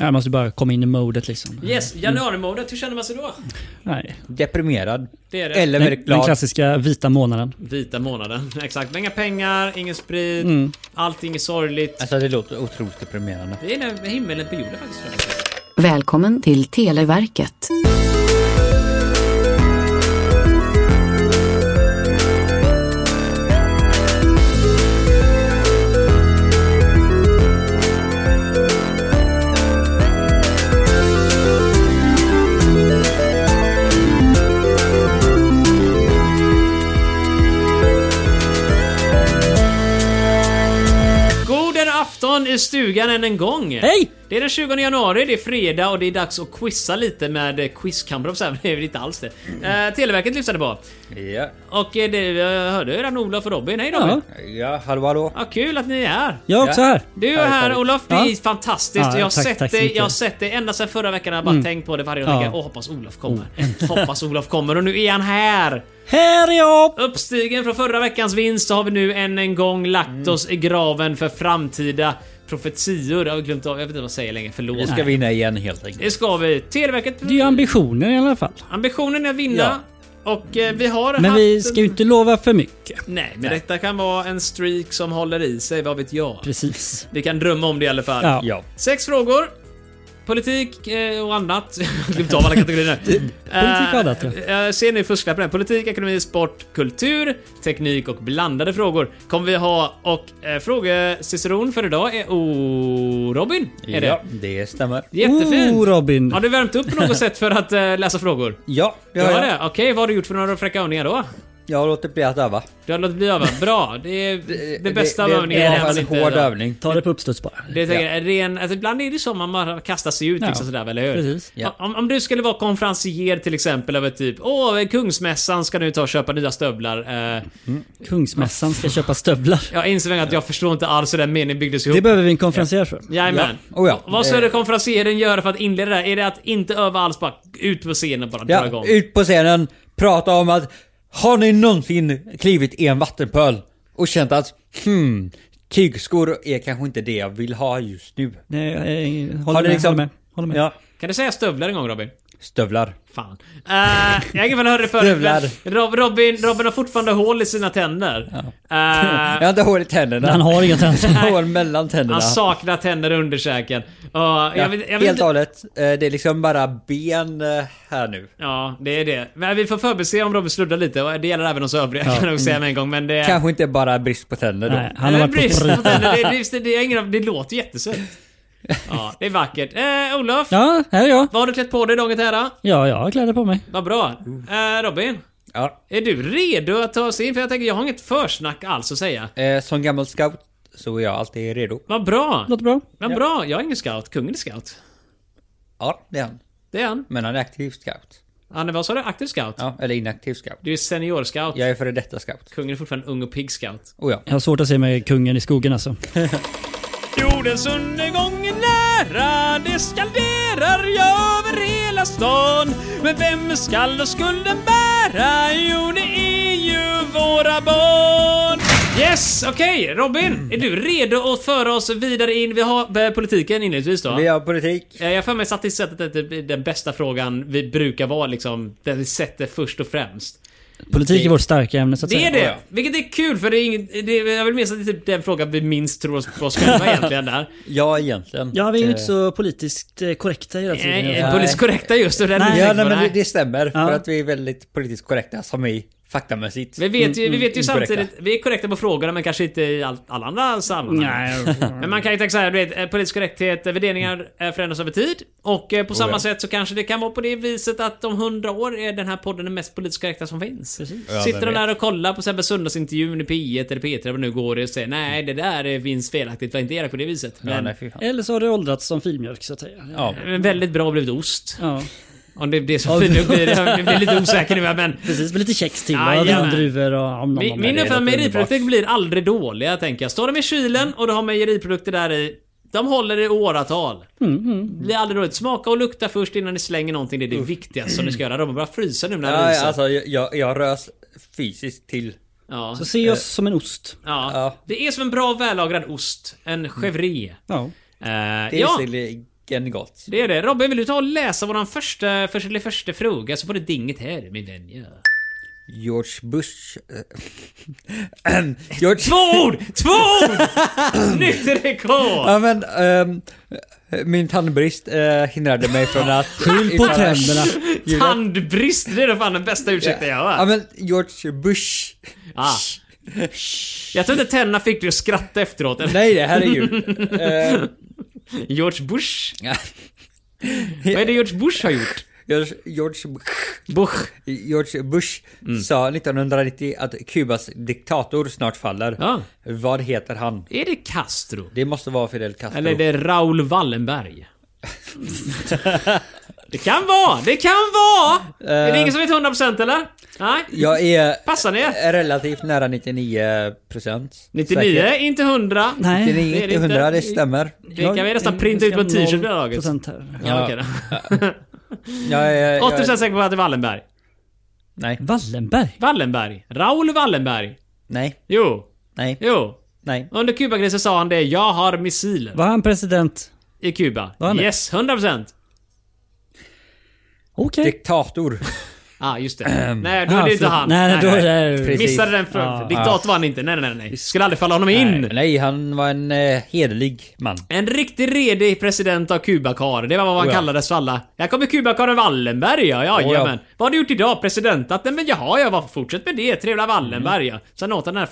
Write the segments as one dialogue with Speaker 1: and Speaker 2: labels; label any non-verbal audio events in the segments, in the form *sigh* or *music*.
Speaker 1: Jag måste bara komma in i modet liksom.
Speaker 2: Yes, januarimodet, hur känner man sig då?
Speaker 1: Nej.
Speaker 3: Deprimerad.
Speaker 2: Det är det.
Speaker 3: Eller
Speaker 1: Den,
Speaker 3: väldigt
Speaker 1: den
Speaker 3: glad.
Speaker 1: klassiska vita månaden.
Speaker 2: Vita månaden, *laughs* exakt. Inga pengar, ingen sprit,
Speaker 1: Mm.
Speaker 2: allting är sorgligt.
Speaker 3: Alltså det låter otroligt deprimerande.
Speaker 2: Det är den himmelen på jorden faktiskt. tror jag.
Speaker 4: Välkommen till Televerket.
Speaker 2: God afton i stugan än en gång!
Speaker 1: Hej!
Speaker 2: Det är den 20 januari, det är fredag och det är dags att quizza lite med eh, quizkamrat. Så här, *laughs* Det är väl inte alls det.
Speaker 1: Mm.
Speaker 2: Eh, Televerket lyssnade på.
Speaker 3: Ja.
Speaker 2: Och eh, det, jag hörde ju redan Olof och Robin. Hej Robin!
Speaker 1: Ja.
Speaker 3: Ja, hallå hallå.
Speaker 2: Ja, kul att ni är här!
Speaker 1: Jag är också
Speaker 3: Ja.
Speaker 1: här.
Speaker 2: Du är här
Speaker 3: Härligt.
Speaker 2: Olof, det
Speaker 1: Ja.
Speaker 2: är fantastiskt.
Speaker 1: Ja,
Speaker 2: jag, har
Speaker 1: tack,
Speaker 2: sett
Speaker 1: tack så
Speaker 2: det,
Speaker 1: mycket. Mm.
Speaker 2: jag har sett det ända sedan förra veckan. Jag har bara tänkt på det varje
Speaker 1: Ja. Oh,
Speaker 2: vecka. Åh, hoppas Olof kommer. hoppas Olof kommer och nu är han här!
Speaker 1: Här är jag!
Speaker 2: Uppstigen från förra veckans vinst så har vi nu än en gång
Speaker 1: Mm.
Speaker 2: lagt oss i graven för framtida profetior. Jag har glömt av, jag vet inte vad jag säger längre, förlåt.
Speaker 3: Vi ska vinna igen helt enkelt.
Speaker 2: Det ska vi. Televerket...
Speaker 1: Det är ju ambitionen i alla fall.
Speaker 2: Ambitionen är att vinna. Och eh, vi har
Speaker 1: Men
Speaker 2: haft...
Speaker 1: vi ska ju inte lova för mycket.
Speaker 2: Nej, men detta kan vara en streak som håller i sig, vad vet jag.
Speaker 1: Precis.
Speaker 2: Vi kan drömma om det i alla fall.
Speaker 1: Ja.
Speaker 3: Ja.
Speaker 2: Sex frågor. Politik eh, och annat. *laughs* Jag har glömt av alla kategorier nu.
Speaker 1: Politik och annat, ja.
Speaker 2: ja. Ser ni fusklappen här? Politik, ekonomi, sport, kultur, teknik och blandade frågor kommer vi ha. Och eh, frågeciceron för idag är O... Robin? Är
Speaker 3: ja,
Speaker 2: det?
Speaker 3: det stämmer.
Speaker 2: Jättefint!
Speaker 1: Oh, Robin.
Speaker 2: Har du värmt upp på något sätt för att eh, läsa frågor?
Speaker 3: Ja, det
Speaker 2: Ja,
Speaker 3: har
Speaker 2: har
Speaker 3: jag.
Speaker 2: det? Okej, vad har du gjort för några fräcka övningar då?
Speaker 3: Jag har låtit bli att öva.
Speaker 2: Du har låtit bli öva. Bra! Det är det, bästa av
Speaker 3: det,
Speaker 2: övningen. är
Speaker 3: Det
Speaker 2: att man
Speaker 3: var en
Speaker 2: inte
Speaker 3: hård
Speaker 2: övar.
Speaker 3: övning.
Speaker 1: Ta det på uppstuds bara.
Speaker 2: Det är säkert ren, alltså ibland är det så man bara kastar sig ut
Speaker 1: Ja,
Speaker 2: liksom sådär, eller hur?
Speaker 1: precis.
Speaker 3: Ja.
Speaker 2: Om, om du skulle vara konferencier till exempel över typ Åh, Kungsmässan ska nu ta och köpa nya stövlar. Eh,
Speaker 1: Kungsmässan ska köpa stövlar.
Speaker 2: Jag inser att jag förstår inte alls hur den meningen byggdes
Speaker 1: Det
Speaker 2: ihop.
Speaker 1: behöver vi en konferencier för.
Speaker 2: Jajamän.
Speaker 3: Ja. Oh ja.
Speaker 2: Vad skulle konferencieren göra för att inleda det här? Är det att inte öva alls, bara ut på scenen och bara dra
Speaker 3: Ja, Eh.
Speaker 2: igång?
Speaker 3: ut på scenen, prata om att har ni någonsin klivit i en vattenpöl och känt att hmm, tygskor är kanske inte det jag vill ha just nu?
Speaker 1: Nej, jag, jag, jag, håller,
Speaker 3: Har
Speaker 1: med,
Speaker 3: det liksom-
Speaker 1: håller med. Håller med.
Speaker 3: Ja,
Speaker 2: Kan du säga stövlar en gång Robin?
Speaker 3: stövlar.
Speaker 2: Fan. Eh, jag har ingen hörde det förut, men
Speaker 3: Stövlar.
Speaker 2: Rob- Robin, Robin har fortfarande hål i sina tänder.
Speaker 3: *laughs*
Speaker 2: Eh,
Speaker 3: Jag har inte hål i tänderna.
Speaker 1: Han har inga tänder. *laughs*
Speaker 3: *laughs* Jag har hål mellan tänderna.
Speaker 2: Han saknar tänder och underkäken. Ja, jag vet, jag vet
Speaker 3: Helt och
Speaker 2: inte,
Speaker 3: hållet. Eh, Det är liksom bara ben eh, här nu.
Speaker 2: ja, det är det. Men vi får förbese om Robin sluddar lite. och Det gäller även oss övriga kan jag nog säga med en gång. Men det...
Speaker 3: Kanske inte bara brist på tänder då.
Speaker 1: Nej, mm. han har
Speaker 2: Eller
Speaker 1: varit på
Speaker 2: brist
Speaker 1: sprit.
Speaker 2: tänder. Det, det, det, det, är ingen, det
Speaker 1: *laughs*
Speaker 2: låter jättesött. Ja, det är vackert. Eh, Olof,
Speaker 1: Ja, här är jag.
Speaker 2: vad har du klätt på dig dagen till ära?
Speaker 1: Ja, jag har kläder på mig.
Speaker 2: Vad bra. Eh, Robin,
Speaker 3: Ja.
Speaker 2: är du redo att ta oss in? För jag tänker, jag har inget försnack alls att säga.
Speaker 3: Eh, Som gammal scout så är jag alltid redo.
Speaker 2: Vad bra.
Speaker 1: Låter bra.
Speaker 2: Vad bra. Jag är ingen scout. Kungen är scout.
Speaker 3: Ja, det är han.
Speaker 2: Det är han.
Speaker 3: Men han är aktiv scout.
Speaker 2: Han är, vad sa du? Aktiv scout?
Speaker 3: Ja, eller inaktiv scout.
Speaker 2: Du är senior scout.
Speaker 3: Jag är före detta scout.
Speaker 2: Kungen är fortfarande ung och pigg scout.
Speaker 3: Oh ja.
Speaker 1: Jag har svårt att se mig kungen i skogen alltså.
Speaker 2: Jordens undergång är nära, det skalderar jag över hela stan. Men vem skall då skulden bära? Jo, det är ju våra barn. Yes, okej Robin. Är du redo att föra oss vidare in? Vi har eh, politiken inledningsvis då.
Speaker 3: Vi har politik.
Speaker 2: Eh, Jag har för mig statistiskt sett att det är den bästa frågan vi brukar vara liksom. Den vi sätter först och främst.
Speaker 1: Politik är vårt starka ämne så att
Speaker 2: Det är
Speaker 1: säga.
Speaker 2: det! Vilket är kul för det är inget... Det är, jag vill minnas att det är typ den frågan vi minst tror oss på oss *laughs* själva egentligen där.
Speaker 3: Ja, egentligen.
Speaker 1: Ja, vi är ju
Speaker 3: Eh,
Speaker 1: inte så politiskt eh, korrekta hela tiden.
Speaker 2: Nej, politiskt korrekta just och den
Speaker 1: Nej.
Speaker 3: Ja,
Speaker 2: ursäkten
Speaker 3: nej,
Speaker 2: var
Speaker 3: men det,
Speaker 2: det.
Speaker 3: det stämmer. För
Speaker 1: Ja.
Speaker 3: att vi är väldigt politiskt korrekta som är faktamässigt.
Speaker 2: Vi vet ju, vi vet ju
Speaker 3: Mm, inkorrekta.
Speaker 2: samtidigt, vi är korrekta på frågorna men kanske inte i all, alla andra sammanhang. Men man kan ju tänka såhär, du vet, eh, politisk korrekthet, eh, värderingar eh, förändras över tid. Och eh, på samma
Speaker 3: Mm. Oh, ja.
Speaker 2: sätt så kanske det kan vara på det viset att om hundra år är den här podden den mest politiskt korrekta som finns.
Speaker 3: Ja,
Speaker 2: Sitter
Speaker 3: vem
Speaker 2: de där och kollar på Sebbe Sundas-intervjun i P1 eller P3 vad det nu går det och säger nej det där eh, finns felaktigt, var inte elak på det viset.
Speaker 3: Mm. Ja,
Speaker 2: Men,
Speaker 3: nej, fy fan.
Speaker 1: Eller så har det åldrats som filmjölk så att säga.
Speaker 3: Ja.
Speaker 2: men väldigt bra och blivit ost.
Speaker 1: Ja,
Speaker 2: Om det, det är *laughs* så fint, blir jag blir lite osäker nu men
Speaker 1: precis. Med lite kex till.
Speaker 2: Aj,
Speaker 1: Ah,
Speaker 2: jajamän.
Speaker 1: Vindruvor och... Om, om,
Speaker 2: Min,
Speaker 1: om,
Speaker 2: min
Speaker 3: det är
Speaker 2: uppfattning
Speaker 3: något
Speaker 2: mejeriprodukter
Speaker 3: underbart.
Speaker 2: blir aldrig dåliga tänker jag. Står de i kylen och du har mejeriprodukter där i. De håller i åratal.
Speaker 3: Mm-hmm.
Speaker 2: Blir aldrig dåligt. Smaka och lukta först innan ni slänger någonting. Det är det viktigaste som ni ska göra. De bara frysa nu när det
Speaker 3: Ja, ja,
Speaker 2: ryser.
Speaker 3: alltså jag, jag, jag rös fysiskt till.
Speaker 2: ja.
Speaker 1: Så se
Speaker 2: Eh.
Speaker 1: oss som en ost.
Speaker 2: Ja.
Speaker 3: ja. Mm.
Speaker 2: Det är som en bra vällagrad ost. En chèvre.
Speaker 1: Ja.
Speaker 2: Eh,
Speaker 3: Det är
Speaker 2: ja.
Speaker 3: ja. Fasiken gott.
Speaker 2: Det är det. Robin, vill du ta och läsa våran första, första, eller första fråga så får du dinget här, min vän. Ja.
Speaker 3: George Bush... eh, *clears throat* George...
Speaker 2: Två ord! Två ord!
Speaker 3: *laughs*
Speaker 2: Nytt rekord!
Speaker 3: Ja men, ehm, min tandbrist eh, hindrade mig
Speaker 1: *laughs*
Speaker 3: från att... Skyll
Speaker 1: på tänderna.
Speaker 3: *laughs*
Speaker 2: Tandbrist, det är nog fan den bästa ursäkten jag har
Speaker 3: Ja
Speaker 2: hört.
Speaker 3: men George Bush.
Speaker 2: Ah. Jag tror inte tänderna fick dig att skratta efteråt. eller?
Speaker 3: *laughs* Nej det här är ju... eh,
Speaker 2: George Bush?
Speaker 3: Ja.
Speaker 2: Vad är det George Bush har gjort?
Speaker 3: George, George,
Speaker 2: Bush?
Speaker 3: George Bush
Speaker 2: Mm.
Speaker 3: sa 1990 att Kubas diktator snart faller.
Speaker 2: Ja.
Speaker 3: Vad heter han?
Speaker 2: Är det Castro?
Speaker 3: Det måste vara Fidel Castro.
Speaker 2: Eller är det Raoul Wallenberg? Det kan vara, det kan vara! Är
Speaker 1: Eh.
Speaker 2: det ingen som vet 100% eller? Nej?
Speaker 3: Jag är
Speaker 2: Passar ni?
Speaker 3: relativt nära 99%.
Speaker 2: 99,
Speaker 3: säker.
Speaker 2: inte 100.
Speaker 1: Nej.
Speaker 2: det är
Speaker 3: 99,
Speaker 2: det
Speaker 3: inte 100, det
Speaker 2: inte.
Speaker 3: stämmer.
Speaker 2: Det kan vi nästan printa ut på en t-shirt vid det här laget.
Speaker 1: här.
Speaker 2: Ja, okej
Speaker 3: Jag är...
Speaker 2: då. 80%
Speaker 3: jag,
Speaker 2: säker på att det är Wallenberg.
Speaker 3: nej,
Speaker 1: Wallenberg?
Speaker 2: Wallenberg. Raoul Wallenberg.
Speaker 3: nej,
Speaker 2: Jo,
Speaker 3: nej,
Speaker 2: jo.
Speaker 3: nej.
Speaker 2: Under Kubakrisen sa han det, jag har missiler.
Speaker 1: Var han president?
Speaker 2: I Kuba.
Speaker 1: Var han det?
Speaker 2: Yes, 100%.
Speaker 1: Okej.
Speaker 3: Diktator.
Speaker 2: Ah, just det. nej, då är
Speaker 1: Ah,
Speaker 2: det inte
Speaker 1: förlåt.
Speaker 2: han.
Speaker 1: Nej, nej, då är det...
Speaker 3: Precis.
Speaker 2: Missade den för...
Speaker 1: Ja.
Speaker 2: Diktator var han inte. Nej, nej, nej, nej. Skulle aldrig falla honom in.
Speaker 3: Nej, nej, han var en eh, hederlig man.
Speaker 2: En riktig redig president av Kubakar. Det var vad han
Speaker 3: Oh ja.
Speaker 2: kallades för alla. Här kommer Kubakaren Wallenberg ja, ja,
Speaker 3: Oh ja.
Speaker 2: jajamän. Vad har du gjort idag? Presidentat? Nej men jaha, jag var fortsätt med det. Trevliga
Speaker 3: Mm.
Speaker 2: Wallenberg ja. Sen åt han den här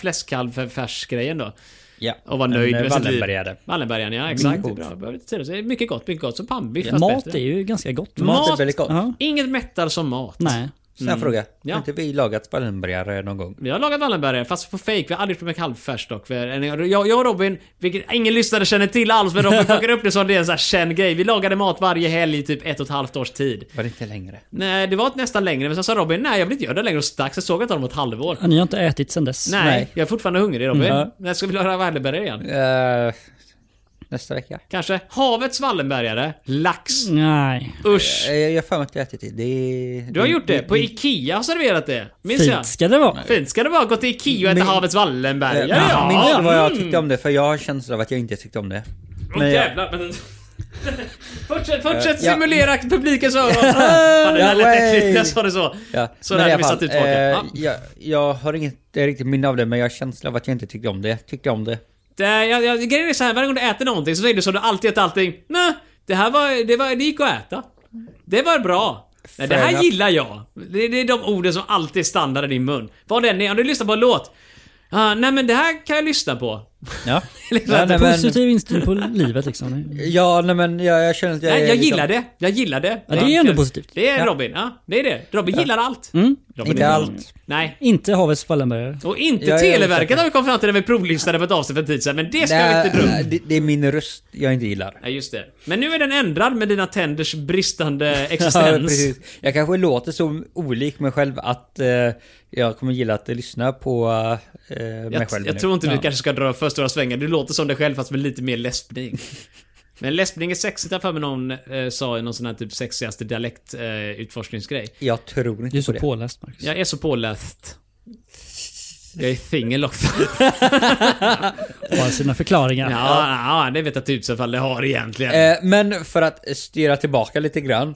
Speaker 2: fläskkalv-färs-grejen då.
Speaker 3: Ja.
Speaker 2: Och var nöjd
Speaker 3: en, eh,
Speaker 2: med sitt liv.
Speaker 3: Wallenbergare.
Speaker 2: Wallenbergaren ja, exakt. Det är
Speaker 3: Gott.
Speaker 2: bra. Behöver inte säga det. Så det är Mycket gott, mycket gott. Som pannbiff fast
Speaker 1: Mat
Speaker 2: bättre.
Speaker 1: är ju ganska gott. va?
Speaker 3: Mat är
Speaker 2: Mat.
Speaker 3: väldigt gott.
Speaker 1: Ja.
Speaker 2: Inget mättar som mat.
Speaker 1: Nej.
Speaker 3: Sån här fråga.
Speaker 2: Ja.
Speaker 3: Har inte vi lagat Wallenbergare någon gång?
Speaker 2: Vi har lagat Wallenbergare fast på fake, vi har aldrig gjort det med kalvfärs dock. För en- Jag, jag och Robin, vilket ingen lyssnare känner till alls, men Robin plockar upp det som det är en sån här känd grej. Vi lagade mat varje helg i typ ett och ett halvt års tid.
Speaker 3: Var det inte längre?
Speaker 2: Nej, det var nästan längre, men sen sa Robin nej jag vill inte göra det längre och stack. Sen såg jag inte honom på ett halvår.
Speaker 1: Ja, Ni har inte ätit sen dess?
Speaker 2: Nej,
Speaker 3: Nej.
Speaker 2: jag är fortfarande hungrig Robin.
Speaker 3: Mm.
Speaker 2: När ska vi laga Wallenbergare igen?
Speaker 3: Eh, nästa vecka.
Speaker 2: Kanske havets Wallenbergare? Lax?
Speaker 1: Nej.
Speaker 2: Usch!
Speaker 3: Eh, Jag har för mig att jag har ätit det. det
Speaker 2: Du har gjort det? På Ikea har serverat det? Minns jag?
Speaker 1: Fint ska det vara.
Speaker 2: Fint ska det vara, gå till Ikea och äta
Speaker 3: Min-
Speaker 2: havets Wallenbergare.
Speaker 3: Jag
Speaker 2: Ja, Mm.
Speaker 3: minns inte vad
Speaker 2: ja.
Speaker 3: jag tyckte om det, för jag har en känsla av att jag inte tyckte om det.
Speaker 2: Åh
Speaker 3: Men jag-
Speaker 2: jävlar, men... *laughs* fortsätt fortsätt
Speaker 3: Ja.
Speaker 2: simulera publikens
Speaker 3: *laughs*
Speaker 2: öron. Fan, det där lät
Speaker 3: Ja,
Speaker 2: äckligt.
Speaker 3: way.
Speaker 2: Jag sa det så.
Speaker 3: Ja.
Speaker 2: Så
Speaker 3: men
Speaker 2: där
Speaker 3: i
Speaker 2: kan
Speaker 3: alla
Speaker 2: vi
Speaker 3: fall,
Speaker 2: satt ut tillbaka.
Speaker 3: eh,
Speaker 2: Ja.
Speaker 3: jag, jag har inget eh, riktigt minne av det, men jag har känsla av att jag inte tyckte om det. Tyckte om det.
Speaker 2: Det, jag, jag, grejen är så här, varje gång du äter någonting så säger du så du alltid äter allting. Nej, det här var, det var... Det gick att äta. Det var bra. Nej, det
Speaker 3: Fair
Speaker 2: här
Speaker 3: enough.
Speaker 2: gillar jag. Det, det är de orden som alltid är standard i din mun. Vad den är. Om du lyssnar på en låt. Ah, nej men det här kan jag lyssna på. *laughs*
Speaker 3: Ja.
Speaker 2: Liksom
Speaker 3: ja, nej, men,
Speaker 1: Positiv inställning på livet liksom.
Speaker 3: ja, nej, men jag, jag känner att jag
Speaker 2: Nej,
Speaker 3: är
Speaker 2: jag
Speaker 3: liksom-
Speaker 2: gillar det. Jag gillar det.
Speaker 1: Ja, det är ändå positivt. Mm.
Speaker 2: Det är Robin. Ja, det är det. Robin gillar allt. Robin
Speaker 3: Inte
Speaker 2: är-
Speaker 3: allt.
Speaker 2: Nej.
Speaker 1: Inte havets Wallenbergare.
Speaker 2: Och inte
Speaker 3: Jag är
Speaker 2: Televerket
Speaker 3: osäker.
Speaker 2: har vi kommit fram till när vi provlyssnade på ett avsnitt för en tid sedan, men det ska vi
Speaker 3: Nej,
Speaker 2: inte dra upp.
Speaker 3: det, det är min röst jag inte gillar.
Speaker 2: Nej, just det. Men nu är den ändrad med dina tänders bristande
Speaker 3: *laughs* Ja,
Speaker 2: existens.
Speaker 3: precis. Jag kanske låter så olik mig själv att eh, jag kommer gilla att lyssna på eh, mig
Speaker 2: jag,
Speaker 3: själv
Speaker 2: jag
Speaker 3: nu.
Speaker 2: tror inte du
Speaker 3: Ja.
Speaker 2: kanske ska dra för stora svängar. Du låter som dig själv fast med lite mer
Speaker 3: *laughs*
Speaker 2: läspning. Men läspning är sexigt, har jag för mig någon eh, sa i någon sån här typ sexigaste dialektutforskningsgrej. Eh, utforskningsgrej.
Speaker 3: Jag tror
Speaker 1: Du är
Speaker 3: inte på
Speaker 1: så
Speaker 3: det.
Speaker 1: påläst Marcus.
Speaker 2: Jag är så påläst. Jag är singel
Speaker 3: *laughs*
Speaker 2: också.
Speaker 1: Har sina förklaringar.
Speaker 2: Ja, ja, det vet jag tusen fall det har egentligen.
Speaker 3: Eh, men för att styra tillbaka lite grann.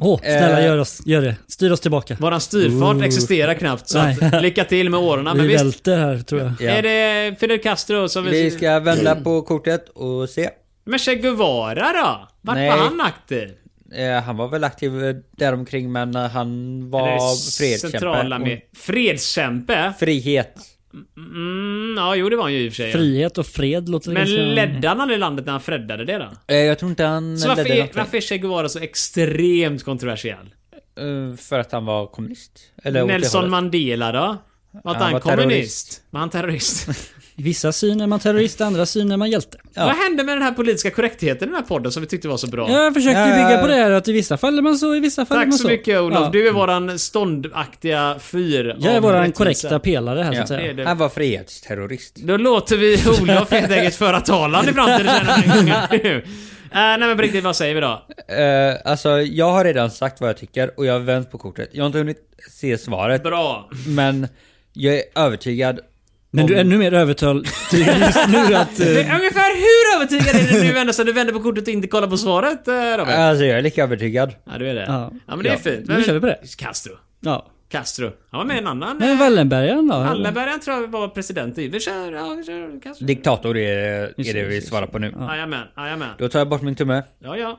Speaker 1: Åh, snälla
Speaker 3: Eh.
Speaker 1: gör, oss, gör det. Styr oss tillbaka.
Speaker 2: Våran styrfart existerar knappt, så att,
Speaker 1: Nej.
Speaker 2: lycka till med åren. Men
Speaker 1: Vi
Speaker 2: visst,
Speaker 1: välter här tror jag.
Speaker 3: Ja.
Speaker 2: Är det Fidel Castro som...
Speaker 3: Vi ska vända på kortet och se.
Speaker 2: Men Che Guevara då? Vart
Speaker 3: Nej.
Speaker 2: var han aktiv?
Speaker 3: Eh, han var väl aktiv eh, däromkring men eh, han
Speaker 2: Eller
Speaker 3: var
Speaker 2: Centralamer-
Speaker 3: fredskämpe.
Speaker 2: Fredskämpe?
Speaker 3: Och Frihet.
Speaker 2: Mm, ja, jo det var han ju i och för sig. ja.
Speaker 1: Frihet och fred låter
Speaker 2: Men
Speaker 3: Liksom-
Speaker 1: ganska...
Speaker 2: ledde han aldrig landet när han freddade det då?
Speaker 3: Eh, jag tror inte han
Speaker 2: Så varför,
Speaker 3: ledde
Speaker 2: är,
Speaker 3: något.
Speaker 2: varför är Che Guevara så extremt kontroversiell?
Speaker 3: Eh, för att han var kommunist. Eller åt det
Speaker 2: Nelson
Speaker 3: hållet.
Speaker 2: Mandela då? Var inte
Speaker 3: Han
Speaker 2: han,
Speaker 3: var
Speaker 2: kommunist? Var han terrorist?
Speaker 1: I vissa syner är man terrorist, i andra syner är man hjälte.
Speaker 3: *laughs* Ja.
Speaker 2: Vad hände med den här politiska korrektheten i den här podden som vi tyckte var så bra?
Speaker 1: Jag försökte ju
Speaker 3: Ja, ja,
Speaker 1: bygga
Speaker 3: ja.
Speaker 1: på det här att i vissa fall är man så, i vissa fall är
Speaker 2: Eh. Tack
Speaker 1: man
Speaker 2: så
Speaker 1: så.
Speaker 2: mycket Olof.
Speaker 1: Ja.
Speaker 2: Du är våran ståndaktiga fyr.
Speaker 1: Jag är
Speaker 2: av
Speaker 1: våran
Speaker 2: rättvisa.
Speaker 1: korrekta pelare här så
Speaker 3: Ja.
Speaker 1: att säga.
Speaker 2: det.
Speaker 3: Han var frihetsterrorist.
Speaker 2: Då
Speaker 1: *laughs*
Speaker 2: låter vi Olof helt enkelt föra talan i framtiden den här
Speaker 1: *laughs*
Speaker 2: gången. Eh, nej men på riktigt, vad säger vi då?
Speaker 3: Eh, alltså jag har redan sagt vad jag tycker och jag har
Speaker 1: Eh.
Speaker 3: vänt på kortet. Jag har inte hunnit se svaret
Speaker 2: Bra.
Speaker 3: men jag är övertygad
Speaker 1: Men du är ännu mer *laughs* övertygad just nu att... eh,
Speaker 2: Ungefär hur övertygad är du nu ända sedan du vände på kortet och inte kollade på svaret eh, Robert?
Speaker 3: Alltså jag är lika övertygad.
Speaker 2: Ja du är det. Ja,
Speaker 1: Ja.
Speaker 2: men det är
Speaker 1: Ja,
Speaker 2: fint.
Speaker 1: nu kör vi på det.
Speaker 2: Castro.
Speaker 1: Ja.
Speaker 2: Castro. Han var med i en annan.
Speaker 1: Men Wallenbergaren då?
Speaker 2: Wallenbergaren tror jag var president i. Vi kör, ja vi kör Castro.
Speaker 3: Diktator är, är
Speaker 1: Just
Speaker 3: det
Speaker 1: det,
Speaker 3: vi
Speaker 1: just det.
Speaker 3: svarar på nu.
Speaker 2: Jajamän, jajamän.
Speaker 3: Då tar jag bort min tumme.
Speaker 2: Ja, ja.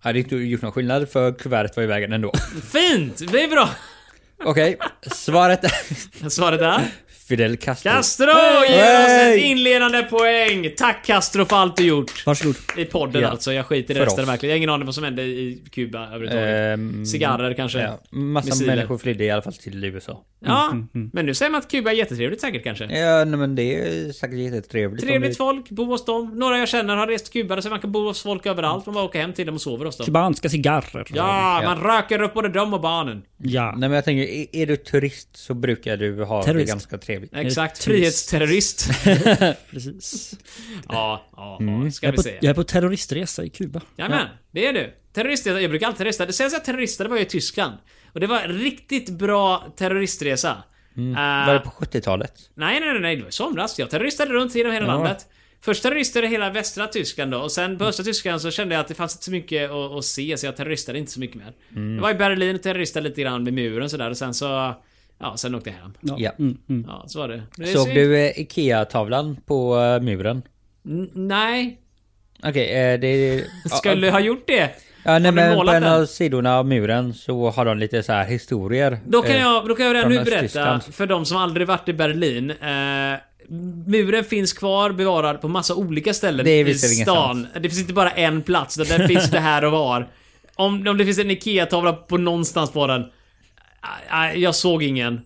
Speaker 3: Hade inte gjort någon skillnad för kuvertet var i vägen ändå.
Speaker 2: Fint! Det är bra. *laughs*
Speaker 3: Okej, svaret är
Speaker 2: Svaret är?
Speaker 3: Fidel Castro.
Speaker 2: Castro ger oss
Speaker 3: Hey!
Speaker 2: ett inledande poäng. Tack Castro för allt du gjort.
Speaker 1: Varsågod.
Speaker 2: I podden
Speaker 3: Ja.
Speaker 2: alltså. Jag skiter i
Speaker 3: För
Speaker 2: resten
Speaker 3: oss.
Speaker 2: verkligen. Jag har ingen aning vad som hände i Kuba överhuvudtaget.
Speaker 3: Ehm,
Speaker 2: Cigarrer kanske?
Speaker 3: ja, massa
Speaker 2: Missiler.
Speaker 3: människor flydde i alla fall till USA.
Speaker 2: Ja, men nu säger man att Kuba är jättetrevligt säkert kanske.
Speaker 3: Ja, nej, men det är säkert jättetrevligt. om
Speaker 2: Trevligt
Speaker 3: det-
Speaker 2: folk, bo hos dem. Några jag känner har rest till Kuba så man kan bo hos folk överallt. Man bara åker hem till dem och sover hos dem.
Speaker 1: Kubanska cigarrer.
Speaker 2: Ja, man röker upp både dem och barnen.
Speaker 1: Ja.
Speaker 3: Nej men jag tänker, är, är du turist så brukar du ha
Speaker 1: Terrorist.
Speaker 3: det ganska trevligt.
Speaker 2: Exakt,
Speaker 1: turist.
Speaker 3: *laughs*
Speaker 2: frihetsterrorist.
Speaker 1: Precis.
Speaker 2: Ja, ja,
Speaker 3: Mm.
Speaker 2: ja,
Speaker 1: *laughs*
Speaker 2: ska
Speaker 1: Jag är,
Speaker 2: vi
Speaker 1: på,
Speaker 2: se.
Speaker 1: jag är på terroristresa i Kuba.
Speaker 2: Jajamän, det är du. Terrorister, jag brukar alltid terrorista. Det senaste jag terroristade var jag i Tyskland. Och det var en riktigt bra terroristresa. Eh,
Speaker 3: Mm. Var det på 70-talet?
Speaker 2: Nej, nej, nej, nej, det var i somras. Jag terroristade runt genom hela landet. Först terroristade jag hela västra Tyskland då och sen på
Speaker 3: Mm.
Speaker 2: östra Tyskland så kände jag att det fanns inte så mycket att, att se så jag terroristade inte så mycket mer.
Speaker 3: Mm.
Speaker 2: Jag var i Berlin och terroristade lite grann vid muren sådär och sen så... Ja, Mm. sen åkte jag hem.
Speaker 3: Ja. Mm.
Speaker 2: Ja, så var det. det är
Speaker 3: Såg
Speaker 2: så-
Speaker 3: du eh, IKEA-tavlan på eh, muren?
Speaker 2: N- Nej.
Speaker 3: Okej, eh, det...
Speaker 2: *laughs* Skulle
Speaker 3: ja,
Speaker 2: ha gjort det.
Speaker 3: ja, nej,
Speaker 2: du
Speaker 3: men på
Speaker 2: målat
Speaker 3: en
Speaker 2: den?
Speaker 3: av sidorna av muren så har de lite så här historier.
Speaker 2: Då kan,
Speaker 3: Eh,
Speaker 2: jag, då kan jag redan
Speaker 3: från
Speaker 2: nu berätta
Speaker 3: Östtyskland.
Speaker 2: för de som aldrig varit i Berlin. Eh, muren finns kvar bevarad på massa olika ställen
Speaker 3: Det är
Speaker 2: i
Speaker 3: visserligen
Speaker 2: stan. Det finns inte bara en plats, utan den finns det här och var. Om, om det finns en IKEA-tavla på någonstans på den. eh, eh, jag såg ingen. eh,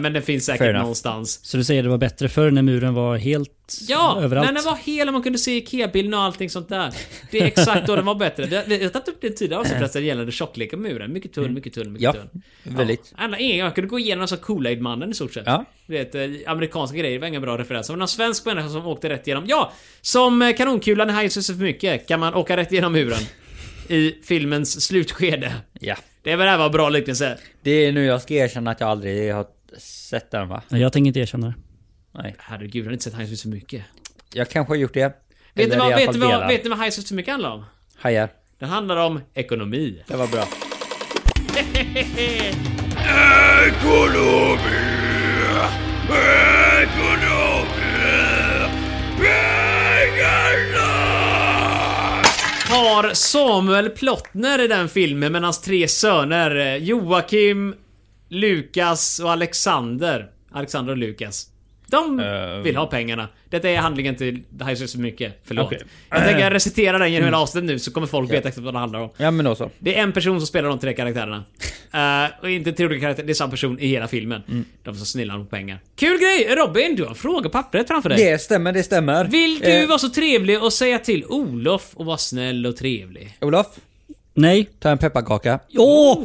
Speaker 2: men den finns
Speaker 3: Fair
Speaker 2: säkert
Speaker 3: enough.
Speaker 2: någonstans.
Speaker 1: Så du säger det var bättre förr när muren var helt
Speaker 2: Ja,
Speaker 1: överallt?
Speaker 2: när den var hel och man kunde se IKEA-bilden och allting sånt där. Det är exakt då den var bättre. Vi har- Vi har tagit upp det tidigare
Speaker 3: *laughs*
Speaker 2: också förresten gällande tjockleken på muren. Mycket tunn, mycket tunn, mycket
Speaker 3: Mm. Ja,
Speaker 2: tunn.
Speaker 3: väldigt.
Speaker 2: Alla ingen, jag kunde gå igenom som Kool-Aid-mannen i stort sett.
Speaker 3: Ja.
Speaker 2: Du vet, eh, amerikanska grejer var inga bra referenser. Men någon svensk människa som åkte rätt igenom. Ja! Som eh, kanonkulan i High för mycket kan man åka rätt igenom muren. I filmens slutskede.
Speaker 3: Ja.
Speaker 2: Det var det här var en bra liknelse.
Speaker 3: Det är nu jag ska erkänna att jag aldrig har sett den va?
Speaker 1: Nej, Jag tänker inte erkänna det.
Speaker 3: Nej.
Speaker 2: Herregud, jag har inte sett High för mycket.
Speaker 3: Jag kanske har gjort det.
Speaker 2: Vet ni
Speaker 3: Eller i
Speaker 2: vad,
Speaker 3: alla
Speaker 2: vet
Speaker 3: fall
Speaker 2: ni vad,
Speaker 3: delar.
Speaker 2: vet ni vad High för mycket handlar om?
Speaker 3: Hajar.
Speaker 2: Den handlar om ekonomi.
Speaker 3: Det var bra.
Speaker 2: har Samuel Plottner i den filmen med hans tre söner eh, Joakim, Lukas och Alexander. Alexander och Lukas. De
Speaker 3: Eh.
Speaker 2: vill ha pengarna. Detta är handlingen till Det här är så mycket. Förlåt.
Speaker 3: Okej.
Speaker 2: Jag tänker
Speaker 3: *clears throat*
Speaker 2: recitera den genom hela avsnittet nu så kommer folk veta exakt vad det handlar om.
Speaker 3: Ja men då så.
Speaker 2: Det är en person som spelar de tre
Speaker 3: *laughs*
Speaker 2: karaktärerna. Eh, och inte tre olika karaktärer, det är samma person i hela filmen.
Speaker 3: Mm.
Speaker 2: De som snillar på pengar. Kul grej! Robin, du har frågepappret framför dig.
Speaker 3: Det stämmer, det stämmer.
Speaker 2: Vill du
Speaker 3: Eh,
Speaker 2: vara så trevlig och säga till Olof och vara snäll och trevlig?
Speaker 3: Olof,
Speaker 1: Nej.
Speaker 3: ta en pepparkaka.
Speaker 1: Åh!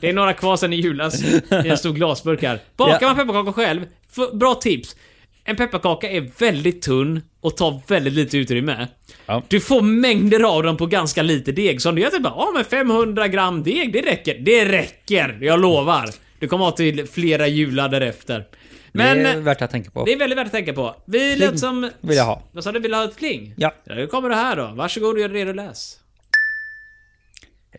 Speaker 2: Det är några kvar sen i julas i en stor glasburk här. Bakar
Speaker 3: Ja.
Speaker 2: man pepparkakor själv? F- bra tips! En pepparkaka är väldigt tunn och tar väldigt lite utrymme.
Speaker 3: Ja.
Speaker 2: Du får mängder av dem på ganska lite deg. Så om du gör typ bara, ah, men 500 gram deg, det räcker. Det räcker! Jag lovar. Du kommer ha till flera jular därefter. Men... eh,
Speaker 3: det är värt att tänka på.
Speaker 2: Det är väldigt värt att tänka på. Vi lät som...
Speaker 3: vill jag ha.
Speaker 2: Vad sa du? Vill du ha ett pling?
Speaker 3: Ja.
Speaker 2: Nu kommer det här då. Varsågod och gör dig redo och läs.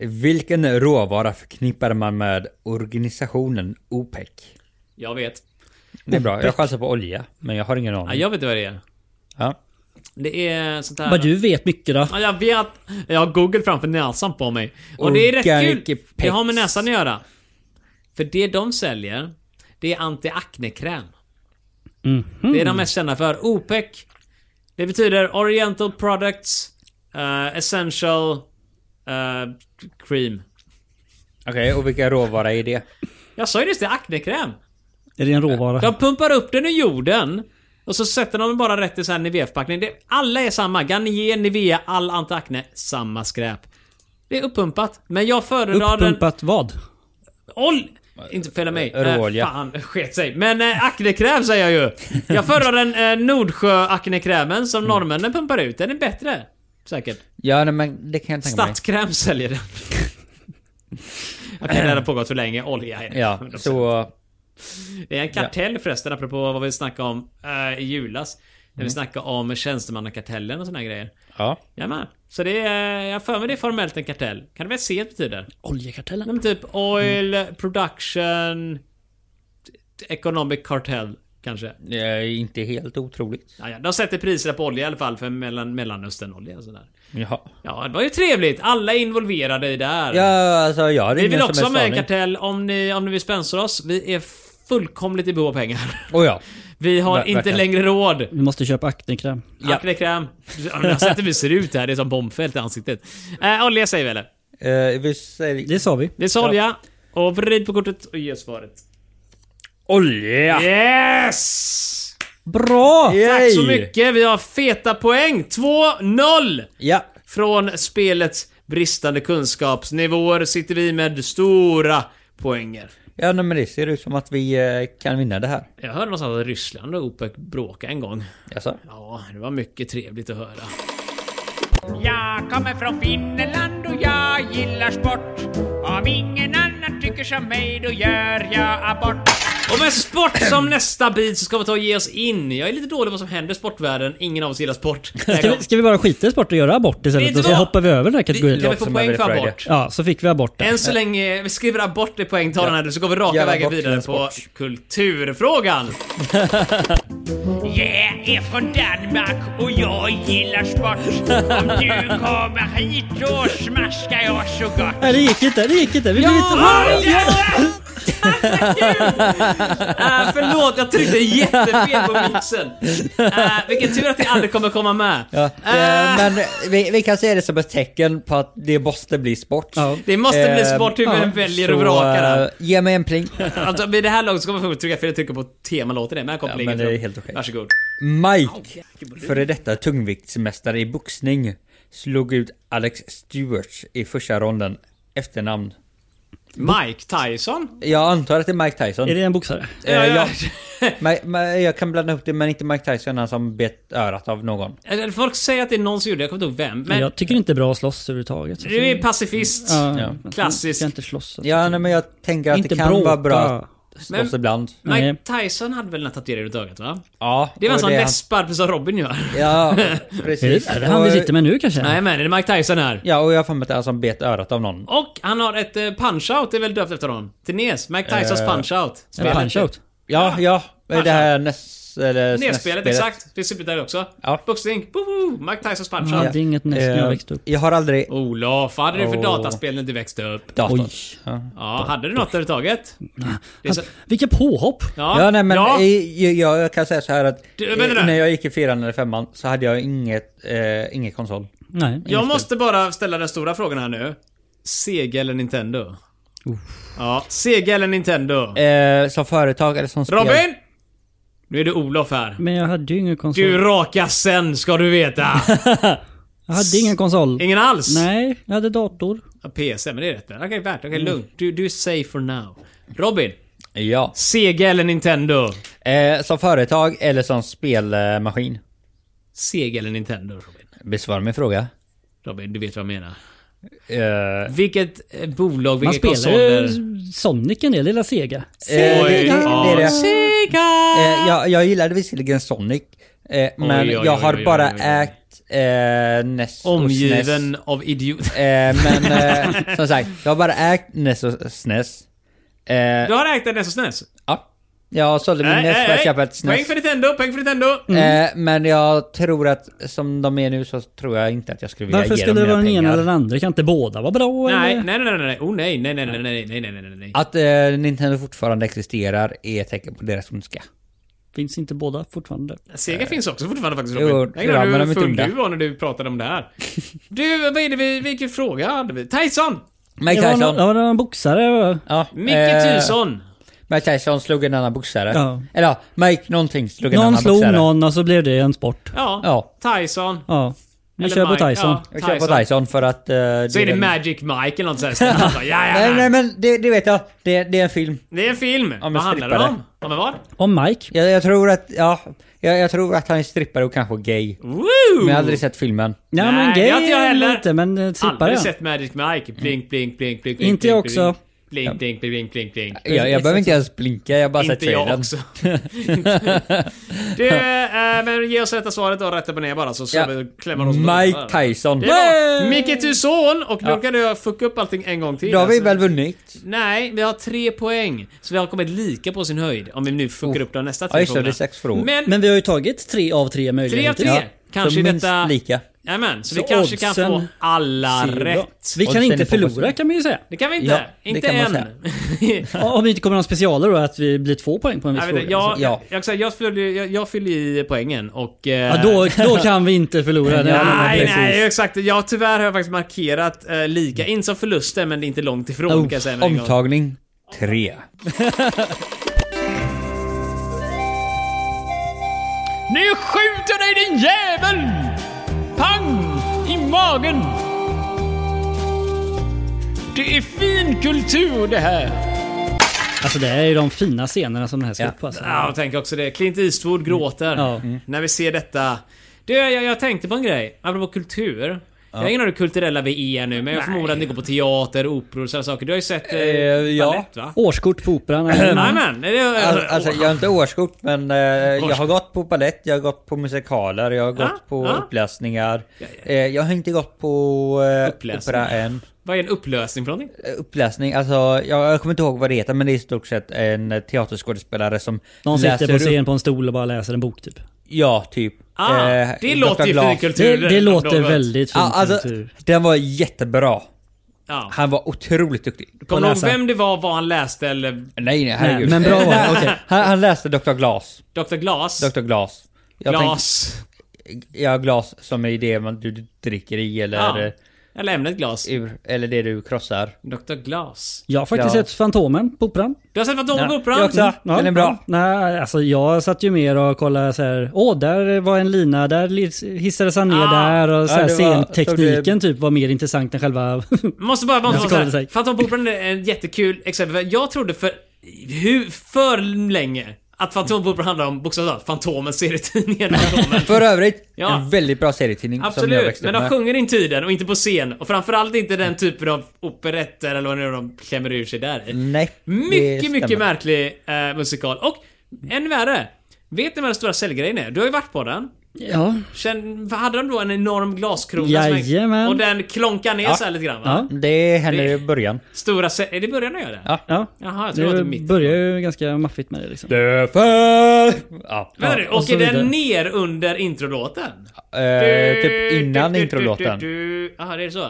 Speaker 3: Vilken råvara förknippar man med organisationen OPEC?
Speaker 2: Jag vet.
Speaker 3: Det är bra, jag chansar på olja. Men jag har ingen
Speaker 2: Ja,
Speaker 3: aning.
Speaker 2: jag vet inte vad det är.
Speaker 3: Ja.
Speaker 2: Det är sånt här...
Speaker 1: Vad du vet mycket då.
Speaker 2: Ja, jag vet. Jag har Google framför näsan på mig. Och det är rätt
Speaker 3: Organic
Speaker 2: kul.
Speaker 3: Pex.
Speaker 2: Det har med näsan att göra. För det de säljer, det är anti-acne-kräm. Det är de mest kända för. OPEC. Det betyder Oriental Products eh, Essential eh, Cream.
Speaker 3: Okej, och vilka råvara är det?
Speaker 2: Jag sa ju just det, acnekräm.
Speaker 1: Är det en råvara?
Speaker 2: De pumpar upp den ur jorden. Och så sätter de den bara rätt i så här Nivea-förpackning. Det- Alla är samma. Garnier, Nivea, all antiakne. Samma skräp. Det är uppumpat. Men jag föredrar den...
Speaker 1: Uppumpat vad?
Speaker 2: Ol... Inte följa mig.
Speaker 3: Ö- råolja.
Speaker 2: Eh, fan, sket sig. Men äh, aknekräm säger jag ju. Jag föredrar den äh, Nordsjö-aknekrämen som
Speaker 3: Mm.
Speaker 2: norrmännen pumpar ut. Den är bättre. Säkert.
Speaker 3: Ja, nej, men det kan jag tänka mig.
Speaker 2: Stadskräm
Speaker 3: *laughs*
Speaker 2: säljer den. Okej, det här har pågått för länge. Olja är det.
Speaker 3: Ja, så
Speaker 2: Det är en kartell förresten, apropå vad vi snackade om eh, i julas. När
Speaker 3: Mm.
Speaker 2: vi snackade om tjänstemannakartellen och såna här grejer.
Speaker 3: Ja.
Speaker 2: Jajamän. Så det är, jag har för mig det är formellt en kartell. Kan du väl se vad det betyder? Nej,
Speaker 1: Oljekartellen.
Speaker 2: men typ oil,
Speaker 3: Mm.
Speaker 2: production, economic cartel kanske.
Speaker 3: Det är inte helt otroligt.
Speaker 2: Ja, ja. De sätter priserna på olja i alla fall för mellan, mellanösternolja och sådär.
Speaker 3: Jaha.
Speaker 2: Ja, det var ju trevligt. Alla är involverade i det här.
Speaker 3: Ja, alltså jag har
Speaker 2: vi vill
Speaker 3: ingen
Speaker 2: också
Speaker 3: som
Speaker 2: vara med i
Speaker 3: helst
Speaker 2: en kartell
Speaker 3: aning.
Speaker 2: om ni, om ni vill sponsra oss. Vi är fullkomligt i behov av pengar. *laughs*
Speaker 3: Oh, ja.
Speaker 2: Vi har
Speaker 3: Ver-
Speaker 2: inte
Speaker 3: verkligen.
Speaker 2: längre råd.
Speaker 1: Vi måste köpa aknekräm.
Speaker 2: Ja. Acnekräm. Ja, men Jag har sett hur vi ser ut här. Det är som bombfält i ansiktet. Eh, olja säger vi eller?
Speaker 3: Eh, vi säger...
Speaker 1: Det sa vi.
Speaker 2: Det är så olja. Och vrid på kortet och ge svaret.
Speaker 3: Olja!
Speaker 2: Yes!
Speaker 1: Bra!
Speaker 2: Tack så
Speaker 3: Yay!
Speaker 2: mycket. Vi har feta poäng. 2-0
Speaker 3: Ja.
Speaker 2: från spelets bristande kunskapsnivåer sitter vi med stora poänger.
Speaker 3: Ja, nej, men det ser ut som att vi eh, kan vinna det här.
Speaker 2: Jag hörde någonstans att Ryssland och OPEC bråkade en gång.
Speaker 3: Jaså?
Speaker 2: Ja, det var mycket trevligt att höra.
Speaker 5: Jag kommer från Finland och jag gillar sport. Om ingen annan tycker som mig då gör jag abort.
Speaker 2: Och med sport som nästa bit så ska vi ta och ge oss in. Jag är lite dålig på vad som händer i sportvärlden. Ingen av oss gillar
Speaker 3: *laughs*
Speaker 2: sport.
Speaker 1: Ska vi, ska vi bara skita i sport och göra abort
Speaker 2: Vet
Speaker 1: istället?
Speaker 2: du
Speaker 1: Och så
Speaker 2: vad?
Speaker 1: hoppar vi över den här
Speaker 2: Vi, kan
Speaker 1: kategorin.
Speaker 2: vi få
Speaker 3: som
Speaker 2: poäng
Speaker 3: Every
Speaker 2: för
Speaker 3: Friday.
Speaker 2: abort?
Speaker 1: Ja, så fick vi abort den.
Speaker 2: Än så länge, vi skriver abort i poängtalen här nu så går vi raka
Speaker 3: Jävla
Speaker 2: vägen
Speaker 3: bort
Speaker 2: vidare
Speaker 3: med
Speaker 2: på
Speaker 3: sport.
Speaker 2: kulturfrågan.
Speaker 5: Jag är från Danmark och jag gillar sport. Om du kommer hit då smaskar jag så gott.
Speaker 1: Nej, det gick inte. Det gick inte. Vi blev inte
Speaker 2: Äh, förlåt, jag tryckte jättefel på mixen. Äh, vilken tur att det aldrig kommer komma med.
Speaker 3: Ja.
Speaker 2: Äh,
Speaker 3: Eh, men vi, vi kan se det som ett tecken på att det måste bli sport.
Speaker 1: Ja.
Speaker 2: det måste bli
Speaker 3: Eh,
Speaker 2: sport hur vi
Speaker 1: ja,
Speaker 2: än väljer och
Speaker 3: så,
Speaker 2: vrakar
Speaker 3: eh,
Speaker 2: den.
Speaker 3: Ge mig en pling.
Speaker 2: *laughs* Alltså, vid det här laget så kommer folk trycka fel och trycka på temalåten. Men här kommer
Speaker 3: Ja,
Speaker 2: länge
Speaker 3: men det
Speaker 2: fram.
Speaker 3: är helt okej.
Speaker 2: Varsågod.
Speaker 3: Mike, före detta tungviktsmästare i boxning, slog ut Alex Stewart i första ronden. Efternamn.
Speaker 2: Mike Tyson?
Speaker 3: Jag antar att det är Mike Tyson.
Speaker 1: Är det en boxare?
Speaker 3: Eh, ja. *laughs* Ma- ma- jag kan blanda ihop det, men inte Mike Tyson, han som bet örat av någon.
Speaker 2: Eller Folk säger att det är någon som gjorde det, jag kommer inte ihåg vem.
Speaker 1: Men,
Speaker 2: Men
Speaker 1: jag tycker inte det är bra att slåss överhuvudtaget. Så-
Speaker 2: du är pacifist.
Speaker 1: Ja, Jag
Speaker 2: Klassisk.
Speaker 1: ska inte slåss. så-
Speaker 3: Ja, nej, men jag tänker att
Speaker 1: Inte
Speaker 3: det kan
Speaker 1: bråka.
Speaker 3: vara bra att slåss
Speaker 2: Men-
Speaker 3: ibland.
Speaker 2: Mike
Speaker 1: Nej.
Speaker 2: Tyson hade väl den här tatueringen runt ögat va?
Speaker 3: Ja,
Speaker 2: Det var en
Speaker 3: och
Speaker 2: sån
Speaker 3: han-
Speaker 2: läspar precis som Robin gör. *laughs*
Speaker 3: Ja,
Speaker 1: Är det,
Speaker 3: precis.
Speaker 1: är det han vi sitter med nu kanske?
Speaker 2: Nej men det är Mike Tyson här.
Speaker 3: Ja, och jag har för mig att det är han som bet örat av någon.
Speaker 2: Och han har ett eh, punch-out, det är väl döpt efter honom? Tines, Mike Tysons
Speaker 3: Eh,
Speaker 2: punch-out.
Speaker 1: En
Speaker 2: Spelet.
Speaker 1: punch-out?
Speaker 3: Ja, ja. Det här näst... Eller
Speaker 2: Nedspelet,
Speaker 3: nästspelet.
Speaker 2: Alltså. exakt. Det är superdev också.
Speaker 3: Ja.
Speaker 2: Boxning, woho! Mike Tysons
Speaker 1: Jag
Speaker 2: punch-out.
Speaker 1: hade inget näst när jag
Speaker 3: Eh,
Speaker 1: växte upp.
Speaker 3: Jag har aldrig...
Speaker 2: Olof, vad hade du för
Speaker 3: Åh.
Speaker 2: dataspel när du växte upp?
Speaker 3: Datorn.
Speaker 1: Oj.
Speaker 3: Ja.
Speaker 2: Ja, hade du något överhuvudtaget? Det är
Speaker 3: *laughs*
Speaker 2: så-
Speaker 1: Vilka påhopp!
Speaker 2: Ja,
Speaker 3: Ja, nej men
Speaker 2: ja.
Speaker 3: i- Jag, jag, jag kan säga så här att
Speaker 2: Du, vänta
Speaker 3: eh,
Speaker 2: där.
Speaker 3: när jag gick i fyran eller femman så hade jag inget, eh, ingen konsol.
Speaker 1: Nej.
Speaker 2: Jag måste bara ställa den stora frågan här nu. Sega eller Nintendo? Ja, Sega eller Nintendo?
Speaker 3: Eh, som företag eller som spel.
Speaker 2: Robin! Nu är det Olof här.
Speaker 1: Men jag hade ju ingen konsol.
Speaker 2: Du raka sen ska du veta.
Speaker 3: *laughs*
Speaker 1: Jag hade ingen konsol.
Speaker 2: Ingen alls?
Speaker 1: Nej, jag hade dator.
Speaker 2: Ja, PC, men det är rätt. Okej, värt. Okej,
Speaker 3: Mm.
Speaker 2: lugnt. Du, du är safe for now. Robin,
Speaker 3: Ja.
Speaker 2: Sega eller Nintendo?
Speaker 3: Eh, som företag eller som spelmaskin.
Speaker 2: Sega eller Nintendo, Robin?
Speaker 3: Besvara min fråga.
Speaker 2: Robin, du vet vad jag menar.
Speaker 3: Eh, eh,
Speaker 2: Vilket eh, bolag,
Speaker 1: Man
Speaker 2: vilka
Speaker 1: spelar
Speaker 2: konsoler?
Speaker 1: ju Sonic en del, lilla Sega.
Speaker 3: det, eh, det, det, är
Speaker 2: ja.
Speaker 3: det.
Speaker 2: Sega!
Speaker 3: Eh, jag, jag gillade visserligen Sonic. Eh, men
Speaker 2: oj, oj,
Speaker 3: jag har
Speaker 2: oj, oj,
Speaker 3: bara
Speaker 2: oj, oj.
Speaker 3: ägt eh, Ness och SNES.
Speaker 2: Omgiven av *laughs* idioter.
Speaker 3: Eh, men eh, som sagt, jag har bara ägt Ness och SNES. Eh,
Speaker 2: Du har ägt en Nessus NES?
Speaker 3: ja. Jag sålde min
Speaker 2: Nej,
Speaker 3: Ness för
Speaker 2: nej,
Speaker 3: att köpa ett
Speaker 2: Poäng
Speaker 3: SNES.
Speaker 2: för Mm. Nintendo, poäng för Nintendo!
Speaker 3: Eh, men jag tror att som de är nu så tror jag inte att jag skulle vilja
Speaker 1: Varför
Speaker 3: ge
Speaker 1: skulle
Speaker 3: dem
Speaker 1: det vara
Speaker 3: mina
Speaker 1: den ena
Speaker 3: pengar.
Speaker 1: eller den andra? Kan inte båda vara bra?
Speaker 2: Nej,
Speaker 1: eller?
Speaker 2: nej, nej, nej, nej, oh nej, nej, nej, nej, nej, nej, nej, nej, nej, nej.
Speaker 3: Att eh, Nintendo fortfarande existerar är ett tecken på deras ondska.
Speaker 1: Finns inte båda fortfarande?
Speaker 2: Sega finns också fortfarande faktiskt
Speaker 3: Jo,
Speaker 2: Robin. Jag
Speaker 3: ja,
Speaker 2: glömde
Speaker 3: men de
Speaker 2: hur
Speaker 3: är
Speaker 2: full
Speaker 3: dumma.
Speaker 2: du var när du pratade om det *laughs* här. Du, vad är det vi, vilken fråga hade vi? Tyson!
Speaker 3: Mike
Speaker 1: Det var någon, det
Speaker 3: Tyson.
Speaker 1: var någon boxare.
Speaker 3: Ja,
Speaker 2: Micke
Speaker 3: eh,
Speaker 2: Tyson!
Speaker 3: Mike Tyson slog en annan boxare.
Speaker 1: Ja.
Speaker 3: Eller ja, Mike någonting slog en
Speaker 1: Någon
Speaker 3: annan
Speaker 1: slog
Speaker 3: boxare.
Speaker 1: någon och så blev det en sport.
Speaker 2: Ja. Tyson.
Speaker 1: Ja. Vi
Speaker 2: Eller
Speaker 1: kör på
Speaker 2: Mike,
Speaker 1: Tyson.
Speaker 2: ja.
Speaker 3: Jag kör på
Speaker 2: Tyson.
Speaker 3: Tyson för att...
Speaker 2: Så
Speaker 3: eh,
Speaker 2: är det
Speaker 3: den-
Speaker 2: Magic Mike eller något *laughs* sånt här. ja, ja,
Speaker 3: Nej, nej
Speaker 2: nej.
Speaker 3: men det, det vet jag. Det, det är en film.
Speaker 2: Det är en film.
Speaker 3: men
Speaker 2: vad handlar det
Speaker 3: strippare.
Speaker 2: om? Ja, men vad?
Speaker 1: Och Mike.
Speaker 3: Jag, jag tror att, ja. Jag, jag tror att han är strippare och kanske gay.
Speaker 2: Woo!
Speaker 3: Men jag har aldrig sett filmen.
Speaker 1: Nej,
Speaker 2: Nej,
Speaker 1: men gay
Speaker 2: det har inte jag
Speaker 1: är
Speaker 2: heller.
Speaker 1: inte, men eh, sippar
Speaker 2: Aldrig
Speaker 1: jag.
Speaker 2: sett Magic Mike. Blink, blink, blink, blink, blink.
Speaker 1: Inte
Speaker 2: blink,
Speaker 1: jag också.
Speaker 2: Blink. Blink, blink, blink, blink, blink.
Speaker 3: Jag, jag behöver inte ens blinka, jag har bara sett
Speaker 2: Inte jag
Speaker 3: trailern. *laughs*
Speaker 2: också. det, eh, men ge oss rätta svaret och rätt upp och ner bara så ska
Speaker 3: Ja.
Speaker 2: vi klämma oss på
Speaker 3: Mike
Speaker 2: tungan.
Speaker 3: Tyson.
Speaker 2: Ja,
Speaker 3: Yay!
Speaker 2: Micke Tuson och nu kan du fucka upp allting en gång till.
Speaker 3: Då har vi
Speaker 2: alltså.
Speaker 3: väl vunnit?
Speaker 2: Nej, vi har tre poäng. Så vi har kommit lika på sin höjd. Om vi nu fuckar
Speaker 3: Oh.
Speaker 2: upp de nästa
Speaker 3: Ja
Speaker 2: tre
Speaker 3: just det,
Speaker 2: frågorna.
Speaker 3: det är sex frågor.
Speaker 2: Men,
Speaker 1: Men vi har ju tagit tre av tre
Speaker 2: tre av
Speaker 1: möjligheter.
Speaker 2: tre.
Speaker 3: Ja,
Speaker 2: Kanske
Speaker 3: så minst
Speaker 2: detta...
Speaker 3: lika.
Speaker 2: Jajamän, så,
Speaker 1: Så
Speaker 2: vi kanske kan få
Speaker 1: oddsen
Speaker 2: alla
Speaker 1: Ser bra.
Speaker 2: rätt.
Speaker 1: Vi kan
Speaker 3: Oddsen är
Speaker 1: inte
Speaker 3: på
Speaker 1: förlora
Speaker 3: botten.
Speaker 1: kan man ju säga.
Speaker 2: Det kan vi inte.
Speaker 3: Ja, det
Speaker 2: inte
Speaker 3: kan man
Speaker 2: än.
Speaker 3: säga.
Speaker 2: *laughs*
Speaker 1: Ja, Om det inte kommer några specialer då, att vi blir två poäng på en viss
Speaker 2: Jag,
Speaker 1: fråga.
Speaker 2: vet, inte, jag,
Speaker 1: så.
Speaker 2: jag,
Speaker 3: Ja.
Speaker 2: jag, jag, fyller, jag, jag fyller i poängen och... eh,
Speaker 1: Alltså, Ja, då, då kan vi inte förlora. Det är alla
Speaker 2: Nej,
Speaker 1: precis.
Speaker 2: nej, exakt. Jag, tyvärr har jag faktiskt markerat eh, lika. Inte som förluster, men det är inte långt ifrån
Speaker 3: Oh,
Speaker 2: kan jag säga med en gång. Äh,
Speaker 3: Omtagning tre.
Speaker 5: Nu skjuter dig din jävel! Pang! I magen! Det är fin kultur det här.
Speaker 1: Alltså det här är ju de fina scenerna som den här ska
Speaker 3: Ja.
Speaker 1: upp på. Alltså.
Speaker 2: Ja, jag tänker också det. Clint Eastwood
Speaker 3: Mm.
Speaker 2: gråter
Speaker 1: Ja.
Speaker 2: när vi ser detta. Du, jag, jag tänkte på en grej. Apropå kultur. Jag har ingen aning hur kulturella vi är nu, men jag förmodar att ni går på teater, operor och sådana saker. Du har ju sett eh,
Speaker 3: ja.
Speaker 2: balett va?
Speaker 1: Årskort på Operan.
Speaker 2: *clears throat* Nej
Speaker 1: eller-
Speaker 2: men, det är,
Speaker 3: Alltså, alltså jag har inte årskort men eh, jag har
Speaker 2: Årskort.
Speaker 3: gått på ballett, jag har gått på musikaler, jag har
Speaker 2: Ja,
Speaker 3: gått på
Speaker 2: ja.
Speaker 3: uppläsningar.
Speaker 2: Ja, ja.
Speaker 3: Eh, jag har inte gått på eh,
Speaker 2: Uppläsningar.
Speaker 3: opera än.
Speaker 2: Vad är en upplösning för någonting?
Speaker 3: Eh, Uppläsning, alltså jag, jag kommer inte ihåg vad det heter men det är i stort sett en eh, teaterskådespelare som
Speaker 1: Någon
Speaker 3: läser
Speaker 1: sitter på
Speaker 3: upp-
Speaker 1: scen på en stol och bara läser en bok typ.
Speaker 3: Ja, typ.
Speaker 2: Ah,
Speaker 3: Eh,
Speaker 2: det
Speaker 3: Dr.
Speaker 2: låter ju
Speaker 3: Glas.
Speaker 2: fin kultur.
Speaker 1: Det, det låter väldigt fint.
Speaker 3: Ja, alltså,
Speaker 1: kultur.
Speaker 3: den var jättebra.
Speaker 2: Ja.
Speaker 3: Han var otroligt duktig.
Speaker 2: Kommer du ihåg
Speaker 1: läsa.
Speaker 2: vem det var, vad han läste eller
Speaker 3: Nej, nej, herregud.
Speaker 1: men bra var
Speaker 3: *laughs*
Speaker 1: det,
Speaker 3: okej. han, han läste Dr. Glas.
Speaker 2: Dr. Glas?
Speaker 3: Dr. Glas. Jag
Speaker 2: Glas.
Speaker 3: tänkte- ja, glas som är det man, du dricker i eller,
Speaker 2: Ja. Mm. Eller ämnet glas.
Speaker 3: ur, eller det du krossar.
Speaker 2: Dr. Glas.
Speaker 1: Jag har faktiskt
Speaker 3: Ja.
Speaker 1: sett Fantomen på Operan.
Speaker 2: Du har sett Fantomen på Operan?
Speaker 3: Jag också. Den är bra.
Speaker 1: Nej, alltså jag satt ju mer och kollade så här. Åh, där var en lina. Där li- hissades han ner
Speaker 2: Ah.
Speaker 1: där. Och så
Speaker 3: Ja,
Speaker 1: här,
Speaker 3: det var-
Speaker 1: scentekniken typ var mer intressant än själva... *laughs*
Speaker 2: Måste bara, måste
Speaker 1: Jag
Speaker 2: bara
Speaker 1: ska
Speaker 2: säga,
Speaker 1: kolla.
Speaker 2: Fantomen på Operan är en jättekul exempel. för Jag trodde för, hur, för länge att Fantomen på Operan handlar om bokstavligt talat Fantomen, serietidningen Fantomen.
Speaker 3: För övrigt,
Speaker 2: Ja.
Speaker 3: en väldigt bra serietidning som jag
Speaker 2: Absolut,
Speaker 3: växte
Speaker 2: men
Speaker 3: upp
Speaker 2: de
Speaker 3: med.
Speaker 2: sjunger inte i den och inte på scen. Och framförallt inte den typen av operetter eller vad nu de klämmer ur sig där i.
Speaker 3: Nej, det
Speaker 2: Mycket, mycket
Speaker 3: stämmer.
Speaker 2: märklig eh, musikal. Och än värre. Vet ni vad den stora säljgrejen är? Du har ju varit på den.
Speaker 1: ja.
Speaker 2: Känn, vad hade de då en enorm glaskrona? som
Speaker 1: Jajamän.
Speaker 2: häng- Och den klonkar ner så här lite grann va?
Speaker 1: Ja.
Speaker 3: Det händer
Speaker 2: Det-
Speaker 3: i början.
Speaker 2: Stora sä- Är det början jag gör det?
Speaker 3: Ja.
Speaker 1: ja.
Speaker 2: Jaha, jag tror det var
Speaker 1: Det
Speaker 2: typ mitt.
Speaker 1: börjar ju ganska maffigt med det liksom.
Speaker 3: Det för... Ja.
Speaker 2: Vänta nu,
Speaker 1: Ja, och så
Speaker 2: åker den
Speaker 1: vidare.
Speaker 2: ner under introlåten?
Speaker 3: Eh, typ innan introlåten.
Speaker 2: Jaha, det är så?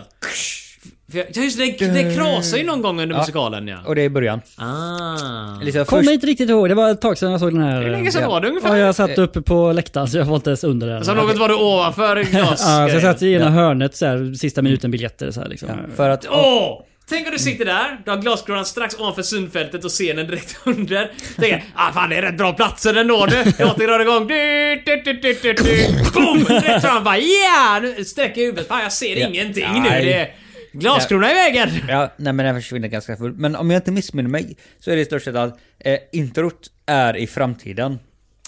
Speaker 2: För jag, ja, just det, det, det krasar ju någon gång under musikalen ja.
Speaker 3: Och det är i början.
Speaker 2: Mm. Ah.
Speaker 3: Liksom
Speaker 1: Kommer
Speaker 3: först-
Speaker 1: inte riktigt ihåg. Det var ett tag sedan jag såg den här.
Speaker 2: Hur länge sedan
Speaker 3: Ja.
Speaker 2: var det
Speaker 1: Ja,
Speaker 2: ungefär?
Speaker 1: jag satt uppe på läktaren så jag var inte ens under den.
Speaker 2: Alltså något var det ovanför glas...
Speaker 1: *laughs* Ja, så jag satt i ena hörnet så här, sista minuten-biljetter så här liksom.
Speaker 3: För att...
Speaker 2: Åh! Tänk om du sitter där, du har glaskronan strax ovanför synfältet och scenen direkt *laughs* under. Tänker ah fan det är rätt bra platser ändå nu. Låten drar igång. Du, du, du, du, du, du. Boom! Rätt fram bara yeah! Nu sträcker jag huvudet. Fan jag ser
Speaker 3: Ja.
Speaker 2: ingenting nu.
Speaker 3: Nej.
Speaker 2: Det är glaskrona i vägen.
Speaker 3: Ja, nej men den försvinner ganska fort. Men om jag inte missminner mig så är det i stort sett att eh, introt är i framtiden.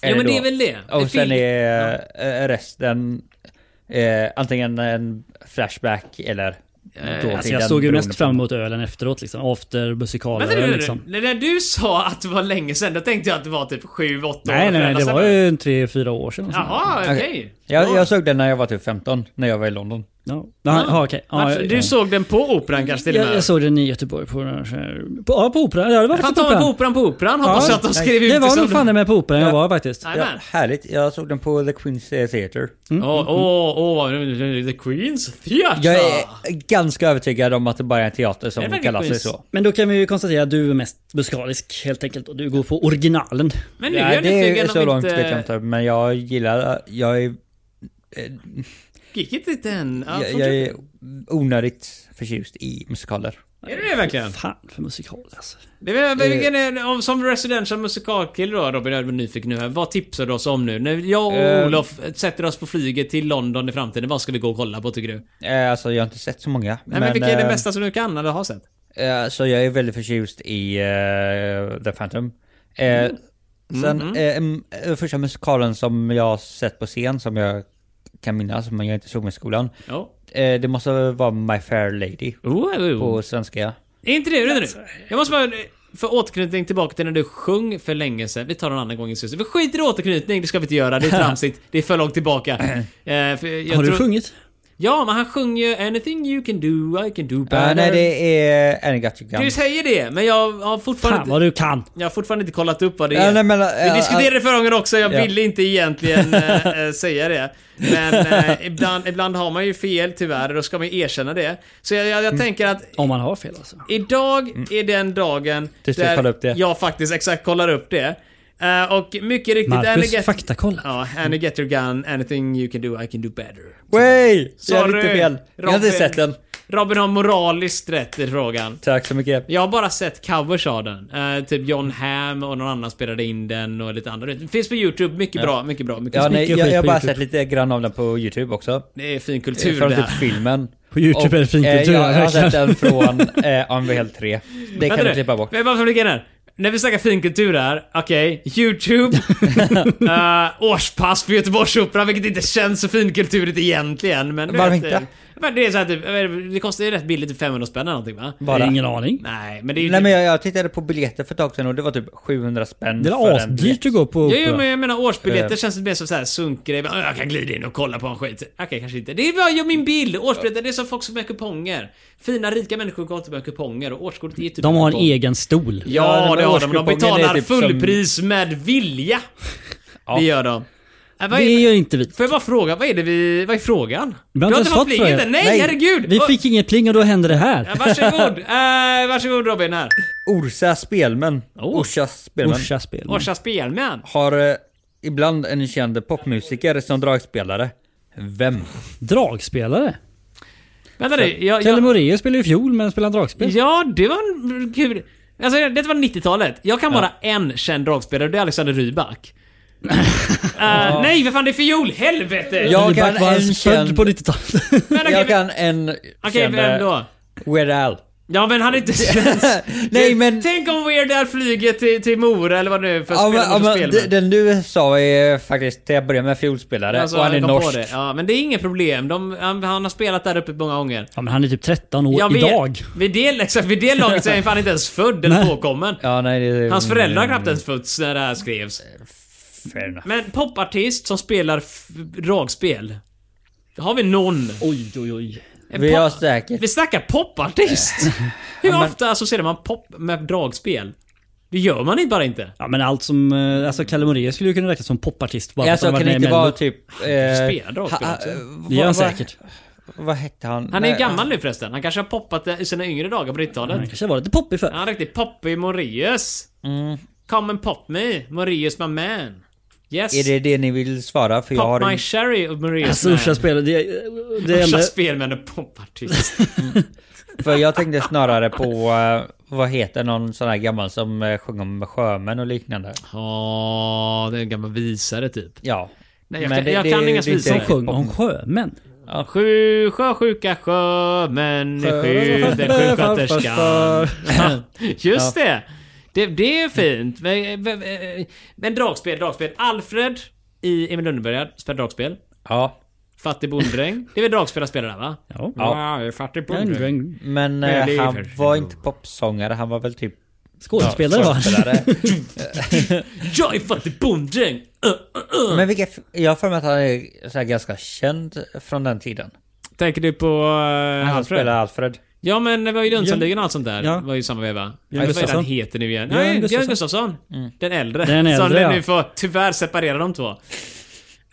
Speaker 2: Ja men
Speaker 3: då.
Speaker 2: det är väl det.
Speaker 3: Och
Speaker 2: det
Speaker 3: sen
Speaker 2: film-
Speaker 3: är eh, resten eh, antingen en flashback eller
Speaker 2: Eh,
Speaker 3: dåtiden.
Speaker 1: Alltså jag såg ju
Speaker 3: beroende
Speaker 1: mest
Speaker 3: på-
Speaker 1: fram emot ölen efteråt liksom. After
Speaker 2: Vänta nu,
Speaker 1: musikalen
Speaker 2: nu,
Speaker 1: liksom.
Speaker 2: nu. När du sa att det var länge sedan, då tänkte jag att det var typ 7-8 år
Speaker 1: Nej, nej, nej. Det
Speaker 2: sedan. Alltså,
Speaker 1: var ju en tre, fyra år sedan.
Speaker 2: Jaha, okej.
Speaker 3: Jag, jag såg den när jag var typ 15, när jag var i London.
Speaker 1: Ja, ja. ja okej. Ja,
Speaker 2: Varför-
Speaker 1: jag-
Speaker 2: du såg den på Operan kanske till och
Speaker 1: jag,
Speaker 2: med?
Speaker 1: jag såg den i Göteborg på, den här- på, ja, på Operan. Ja, det var faktiskt på
Speaker 2: Fantomen på
Speaker 1: Operan.
Speaker 2: Operan på Operan hoppas jag att de skrev ut
Speaker 1: Det var
Speaker 2: som
Speaker 1: nog fan
Speaker 2: de-
Speaker 1: med på Operan jag var faktiskt.
Speaker 2: Nej,
Speaker 3: Ja,
Speaker 2: men. Alltså-
Speaker 3: härligt, jag såg den på The Queen's eh, Theatre.
Speaker 2: Åh, åh, åh, The Queens Theatre!
Speaker 3: mm. Jag är ganska övertygad om att det bara är en teater
Speaker 2: Är det
Speaker 3: som
Speaker 2: verkligen
Speaker 3: kallar sig
Speaker 2: Queen's?
Speaker 3: så.
Speaker 1: Men då kan vi ju konstatera att du är mest musikalisk helt enkelt. Och du går på originalen.
Speaker 2: Men nu är
Speaker 3: Nej,
Speaker 2: jag
Speaker 3: det är så
Speaker 2: nyfiken om
Speaker 3: långt vet jag
Speaker 2: inte...
Speaker 3: inte, men jag gillar... Jag är
Speaker 2: Gick inte dit än? Ja,
Speaker 3: jag,
Speaker 2: fortsätt.
Speaker 3: jag är onödigt förtjust i musikaler.
Speaker 2: Är du det verkligen?
Speaker 1: Fan för musikal alltså.
Speaker 2: Det är, men vilken är, om, som residential musikalkille då Robin, jag är nyfiken nu här. Vad tipsar du oss om nu? När jag och
Speaker 3: Eh.
Speaker 2: Olof sätter oss på flyget till London i framtiden, vad ska vi gå och kolla på tycker du? Nej
Speaker 3: Eh, Alltså jag har inte sett så många.
Speaker 2: men, vilka är det
Speaker 3: eh,
Speaker 2: bästa som du kan eller har sett?
Speaker 3: eh, Så jag är väldigt förtjust i eh, The Phantom. Eh,
Speaker 2: Mm.
Speaker 3: Sen
Speaker 2: Mm-hmm.
Speaker 3: eh, mm, eh, första musikalen som jag har sett på scen som jag kan minnas men jag inte såg med skolan.
Speaker 2: Ja.
Speaker 3: Eh, det måste vara My Fair Lady
Speaker 2: Oh, oh, oh.
Speaker 3: på svenska.
Speaker 2: Är inte det?
Speaker 3: Alltså,
Speaker 2: Vänta nu. Jag måste bara... För återknytning tillbaka till när du sjöng för länge sedan. Vi tar en annan gång i syster. Vi skiter i återknytning, det ska vi inte göra. Det
Speaker 3: *laughs*
Speaker 2: är tramsigt. Det är för långt tillbaka.
Speaker 3: Äh.
Speaker 2: Eh, för jag
Speaker 1: Har du
Speaker 2: tror-
Speaker 1: sjungit?
Speaker 2: Ja, men han sjunger ju 'Anything you can do, I can do better'
Speaker 3: Ja, Eh, nej, det är eh, Any Got You Gun.
Speaker 2: Du säger det, men jag har fortfarande...
Speaker 1: Fan vad du kan!
Speaker 2: Jag har fortfarande inte kollat upp vad det är.
Speaker 3: Ja, nej, men,
Speaker 2: Vi
Speaker 3: ja,
Speaker 2: diskuterade det förra gången också, jag
Speaker 3: Ja.
Speaker 2: ville inte egentligen eh, eh, säga det. Men eh, ibland, ibland har man ju fel tyvärr, och då ska man ju erkänna det. Så jag, jag, jag
Speaker 3: Mm.
Speaker 2: tänker att
Speaker 1: Om man har fel alltså.
Speaker 2: idag är den dagen
Speaker 3: Du ska kolla upp det.
Speaker 2: jag faktiskt exakt kollar upp det. Eh, och mycket riktigt... Annie
Speaker 1: Marcus,
Speaker 2: Get-
Speaker 1: faktakolla.
Speaker 2: Ja, Annie Get Your Gun, Anything You Can Do, I Can Do Better.
Speaker 3: Way! Jag
Speaker 2: Sorry,
Speaker 3: hade inte fel. Jag har inte
Speaker 2: Robin.
Speaker 3: sett den.
Speaker 2: Robin har moraliskt rätt i frågan.
Speaker 3: Tack så mycket.
Speaker 2: Jag har bara sett covers av den. Eh, typ John Hamm och någon annan spelade in den och lite andra. Det finns på YouTube. Mycket bra, mycket bra. Mycket
Speaker 3: Ja,
Speaker 2: ja,
Speaker 3: nej,
Speaker 1: mycket
Speaker 3: jag,
Speaker 1: skit
Speaker 3: jag har
Speaker 1: på
Speaker 3: bara
Speaker 1: YouTube.
Speaker 3: sett lite grann av den på YouTube också.
Speaker 2: Det är fin
Speaker 3: Eh,
Speaker 2: kultur
Speaker 3: Från
Speaker 2: det
Speaker 3: typ
Speaker 2: här.
Speaker 3: filmen.
Speaker 1: På YouTube är det finkultur,
Speaker 3: eh, jag, jag har
Speaker 1: verkligen.
Speaker 3: sett den
Speaker 1: *laughs*
Speaker 3: från eh, Unreal 3. Det kan
Speaker 2: Vänta
Speaker 3: du
Speaker 2: nu.
Speaker 3: klippa bort.
Speaker 2: Men varför flika in här? När vi snackar finkultur här, okej,
Speaker 3: *laughs*
Speaker 2: YouTube, eh, årspass på Göteborgsoperan, vilket inte känns så finkulturigt egentligen. Men du
Speaker 3: Varför
Speaker 2: vet,
Speaker 3: inte?
Speaker 2: eh, Men det är så här, typ, vad är det? det kostar ju rätt billigt, typ 500 spänn eller någonting va?
Speaker 1: Jag
Speaker 3: Bara.
Speaker 1: har ingen aning.
Speaker 2: Nej, men det är ju... typ-
Speaker 3: Nej men jag, jag tittade på biljetter för ett tag sedan och det var typ 700 spänn
Speaker 1: Det
Speaker 3: för
Speaker 1: är
Speaker 3: en biljett.
Speaker 1: asdyrt att gå på
Speaker 2: Ja, jo, men
Speaker 1: opera.
Speaker 2: jag menar årsbiljetter
Speaker 3: Eh.
Speaker 2: känns det mer som så här sunkgrej. Men, "Åh, Jag kan glida in och kolla på en skit. Okej, kanske inte. Det är bara jag min bild. Årsbiljetter, det är som folk som har kuponger. Fina rika människor går inte med kuponger och årskortet är typ
Speaker 1: De har en
Speaker 2: kupong.
Speaker 1: egen stol.
Speaker 3: Ja,
Speaker 2: Ja,
Speaker 3: men
Speaker 2: det har de. De
Speaker 3: årskupongen är
Speaker 2: betalar
Speaker 3: typ som-
Speaker 2: fullpris med vilja. Det gör de. Äh, vad är-
Speaker 1: Det gör inte vi.
Speaker 2: Får jag bara fråga, vad är det vi... Vad är frågan?
Speaker 1: Vi har inte
Speaker 2: Du
Speaker 1: ens
Speaker 2: fått
Speaker 1: fått
Speaker 2: plinget
Speaker 1: frågan.
Speaker 2: än? Nej,
Speaker 3: Nej.
Speaker 2: herregud!
Speaker 1: Vi
Speaker 2: Åh,
Speaker 1: fick inget pling och då hände det
Speaker 2: ja,
Speaker 1: här.
Speaker 2: Varsågod! *laughs* Eh, varsågod Robin här.
Speaker 3: Orsa Spelmän.
Speaker 2: Oh.
Speaker 3: Orsa
Speaker 1: *laughs*
Speaker 3: Spelmän.
Speaker 1: Orsa spel.
Speaker 2: Orsa Spelmän.
Speaker 3: Har eh, ibland en känd popmusiker som dragspelare. Vem?
Speaker 1: Dragspelare.
Speaker 2: Vänta nu, jag...
Speaker 1: Kalle
Speaker 2: jag...
Speaker 1: Moraeus spelar ju fiol men spelar dragspel.
Speaker 2: Ja, det var en kul... Alltså det var 90-talet. Jag kan bara en känd dragspelare och det är Alexander
Speaker 3: *laughs*
Speaker 2: Rybak. Eh, nej för fan det är fiol! Helvete!
Speaker 3: Jag
Speaker 1: Rybak
Speaker 3: kan
Speaker 1: var
Speaker 3: en
Speaker 1: född
Speaker 3: känd-
Speaker 1: på 90-talet.
Speaker 2: men okej,
Speaker 3: Jag
Speaker 2: okay,
Speaker 3: kan en känd... eh,
Speaker 2: vem då?
Speaker 3: Weird Al.
Speaker 2: Ja men han är inte
Speaker 3: *laughs*
Speaker 2: svensk.
Speaker 3: Nej men...
Speaker 2: Tänk om Weird Al flyger till, till Mora eller vad det nu är för
Speaker 3: Ja,
Speaker 2: att spela
Speaker 3: men, ja,
Speaker 2: på spel.
Speaker 3: men, d- den du sa är faktiskt till att börja med fiolspelare
Speaker 2: Alltså,
Speaker 3: och han är
Speaker 2: jag kom på
Speaker 3: norsk.
Speaker 2: det. Ja, men det är inget problem. De, han, han har spelat där uppe många gånger.
Speaker 1: *laughs* Ja men han är typ 13 år
Speaker 2: Jag vet-
Speaker 1: idag.
Speaker 2: Vid det, liksom, vid det laget så är han fan inte ens född
Speaker 3: *laughs*
Speaker 2: eller
Speaker 1: Nej.
Speaker 2: påkommen.
Speaker 3: Ja, nej, det,
Speaker 2: Hans föräldrar har knappt ens fötts när det här skrevs.
Speaker 3: Fair enough.
Speaker 2: Men popartist som spelar f- dragspel. Har vi någon?
Speaker 1: Oj oj oj.
Speaker 2: En
Speaker 3: Vi
Speaker 2: pop-
Speaker 3: har säkert...
Speaker 2: vi snackar popartist!
Speaker 3: *laughs*
Speaker 2: Hur ofta associerar man pop med dragspel? Det gör man inte bara inte.
Speaker 1: Ja men allt som, eh, alltså Kalle Moraeus skulle ju kunna räknas som popartist bara för att
Speaker 3: Alltså
Speaker 1: han
Speaker 3: kan
Speaker 1: varit
Speaker 3: det
Speaker 1: med i
Speaker 3: inte
Speaker 1: Mello.
Speaker 3: vara typ...
Speaker 2: spelar dragspel
Speaker 3: ha-
Speaker 2: också.
Speaker 3: eh,
Speaker 1: Det gör han
Speaker 3: vad- vad-
Speaker 1: säkert.
Speaker 3: Vad hette han? Eh,
Speaker 2: Han är
Speaker 3: Nej, Mm.
Speaker 2: gammal nu förresten. Han kanske har poppat det i sina yngre dagar på 90-talet.
Speaker 1: Han kanske var lite poppig
Speaker 2: Ja,
Speaker 1: för.
Speaker 2: Han är riktigt poppig Morius.
Speaker 3: Mm.
Speaker 2: Come and pop me, Morius my man. Yes.
Speaker 3: Är det det ni vill svara? För jag
Speaker 2: pop
Speaker 3: har
Speaker 2: my
Speaker 3: en...
Speaker 2: sherry och Morius
Speaker 1: Alltså
Speaker 2: man.
Speaker 1: Orsa
Speaker 2: *laughs*
Speaker 1: spelare, det, det
Speaker 2: Orsa
Speaker 1: enda...
Speaker 2: spelmän och
Speaker 3: *laughs*
Speaker 2: popartist.
Speaker 3: För jag tänkte snarare på... eh, vad heter någon sån här gammal som uh, sjöng om sjömän och liknande?
Speaker 2: Ja, det är en gammal visare typ.
Speaker 3: Ja.
Speaker 2: Nej, jag
Speaker 3: Men
Speaker 2: kan- jag kan inga
Speaker 3: det är inte
Speaker 2: svisar.
Speaker 1: Som
Speaker 2: Nej.
Speaker 1: sjöng om sjömän.
Speaker 2: Ja. Sju sjösjuka sjömän skjuter sjuksköterskan. Ja, *laughs* Just det. det. Det är fint. Men, men- men dragspel, dragspel. Alfred i Emil Lönneberga spelar dragspel.
Speaker 3: Ja.
Speaker 2: Fattig bonddräng. Det är väl dragspel han spelar där va?
Speaker 1: Ja.
Speaker 2: Ja, jag är fattig
Speaker 3: Men eh,
Speaker 2: Men det är
Speaker 3: han
Speaker 2: för-
Speaker 3: var inte popsångare, han var väl typ...
Speaker 1: Skådespelare var han.
Speaker 2: *laughs* Jag är fattig bonddräng!
Speaker 3: Men vilka... f- Jag har för mig att han är så här ganska känd från den tiden.
Speaker 2: Tänker du på eh,
Speaker 3: Han
Speaker 2: Alfred?
Speaker 3: spelar Alfred.
Speaker 2: Ja men det var ju Jönssonligan och allt sånt där.
Speaker 1: Ja.
Speaker 2: Det var ju samma veva.
Speaker 1: Björn
Speaker 2: Vad är det han
Speaker 1: Gustafsson.
Speaker 2: heter nu igen?
Speaker 1: Björn
Speaker 2: Nej, Björn
Speaker 1: Gustafsson. Mm.
Speaker 2: Gustafsson. Den äldre.
Speaker 1: Den äldre,
Speaker 2: Som det
Speaker 1: ja.
Speaker 2: nu får tyvärr separera de två.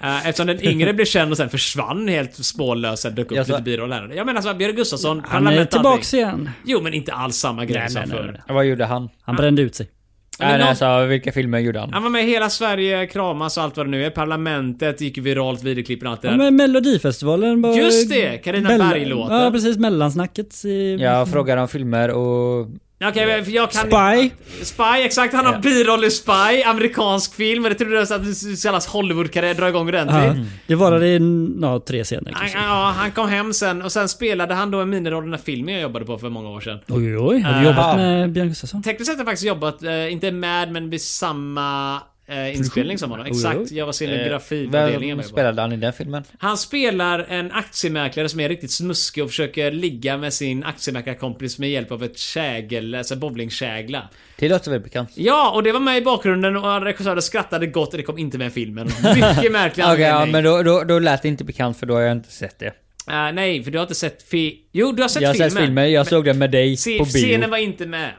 Speaker 2: Eh, Eftersom den yngre blev känd och sen försvann helt spårlöst. Sen dök upp
Speaker 3: Jag sa-
Speaker 2: lite biroller. Jag menar så här, alltså, Björn Gustafsson,
Speaker 1: Han är
Speaker 2: Parlament
Speaker 1: tillbaks igen.
Speaker 2: aldrig. Jo men inte alls samma grej
Speaker 1: Nej,
Speaker 2: som
Speaker 1: nej, nej,
Speaker 2: förr.
Speaker 1: nej.
Speaker 3: Vad gjorde han?
Speaker 1: Han brände ut sig.
Speaker 2: Men
Speaker 3: Nej,
Speaker 2: någon-
Speaker 3: nej, alltså, vilka filmer gjorde han?
Speaker 2: Han var med i Hela Sverige kramas och allt vad det nu är. Parlamentet gick ju viralt, videoklippen och allt det
Speaker 1: Ja,
Speaker 2: där.
Speaker 1: men Melodifestivalen var...
Speaker 2: Just det, Carina
Speaker 1: Mella-
Speaker 2: Berg-låten.
Speaker 1: Ja precis, mellansnacket i...
Speaker 3: Jag frågar om filmer och...
Speaker 2: Okej, men jag kan...
Speaker 1: Spy.
Speaker 2: Spy, exakt. Han har
Speaker 3: Ja.
Speaker 2: biroll i Spy, amerikansk film. Men det trodde jag så att allas Hollywood-karriär drar igång
Speaker 1: Ja,
Speaker 2: ordentligt.
Speaker 1: det var det ja, tre scener
Speaker 2: Han,
Speaker 1: kanske.
Speaker 2: ja, han kom hem sen och sen spelade han då en miniroll i den här filmen jag jobbade på för många år sedan.
Speaker 1: Oj, oj, oj. Har du
Speaker 2: Ah.
Speaker 1: jobbat med Björn Gustafsson?
Speaker 2: Tekniskt sett har jag faktiskt jobbat, eh, inte med men vid samma eh, inspelning som var då.
Speaker 1: Oh,
Speaker 2: Exakt, jag var scenografivdelningen.
Speaker 3: eh, Vem spelade han i den filmen?
Speaker 2: Han spelar en aktiemäklare som är riktigt snuskig och försöker ligga med sin aktiemäklarkompis med hjälp av ett kägel, alltså bowlingkägla.
Speaker 3: Det låter väl bekant.
Speaker 2: Ja, och det var med i bakgrunden och regissören skrattade gott och det kom inte med i filmen. Mycket märklig
Speaker 3: *laughs* Okej, ja,
Speaker 2: anledning.
Speaker 3: men då, då, då lät det inte bekant för då har jag inte sett det.
Speaker 2: Eh, nej, för du har inte sett fi... Jo, du har sett
Speaker 3: jag har
Speaker 2: filmen.
Speaker 3: sett filmen, jag såg den med dig
Speaker 2: Se,
Speaker 3: på bio.
Speaker 2: scenen var inte med.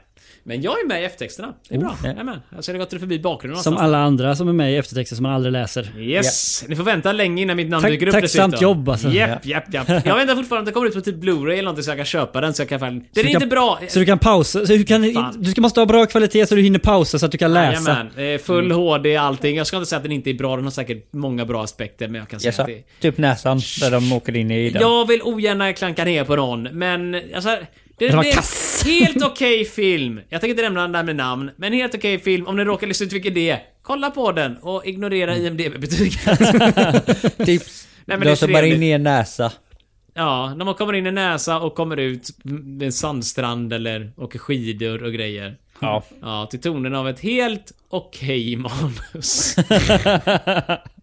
Speaker 2: Men jag är med i eftertexterna. Det är bra.
Speaker 3: ja.
Speaker 2: Jajamän. Alltså det har gått förbi bakgrunden
Speaker 1: Som
Speaker 2: någonstans.
Speaker 1: alla andra som är med i eftertexter som man aldrig
Speaker 2: Mm.
Speaker 1: läser.
Speaker 2: Yes! Ni får vänta länge innan mitt namn
Speaker 1: Tack-
Speaker 2: dyker upp
Speaker 1: tacksamt jobb, alltså.
Speaker 2: Japp, japp, japp. Jag väntar fortfarande att det kommer ut på typ Blu-ray eller någonting så jag kan köpa den så jag kan fan... Den är
Speaker 1: du kan-
Speaker 2: inte bra.
Speaker 1: Så du kan pausa, så du, kan,
Speaker 2: Fan.
Speaker 1: du ska måste ha bra kvalitet så du hinner pausa så att du kan läsa.
Speaker 2: Jajamän. Det är Full HD allting. Jag ska inte säga att den inte är bra. Den har säkert många bra aspekter men jag kan säga
Speaker 3: Jag sa,
Speaker 2: att det...
Speaker 3: typ näsan där de åker in i *laughs* den.
Speaker 2: Jag vill ogärna klanka ner på någon, men alltså... Det, det
Speaker 1: var
Speaker 2: är
Speaker 1: kass.
Speaker 2: en helt okej film. Jag tänker inte nämna den där med namn, men helt okej film. Om ni råkar lyssna ut vilken det är, kolla på den och ignorera
Speaker 1: Mm. *laughs*
Speaker 2: IMDB-betyget.
Speaker 3: Tips.
Speaker 2: Nej, men det är
Speaker 3: Typ, de som bara in
Speaker 2: trevligt.
Speaker 3: i en näsa.
Speaker 2: ja, när man kommer in i näsa och kommer ut med en sandstrand eller åker skidor och grejer.
Speaker 3: *laughs* Ja.
Speaker 2: Ja, till tonen av ett helt okej manus. *laughs*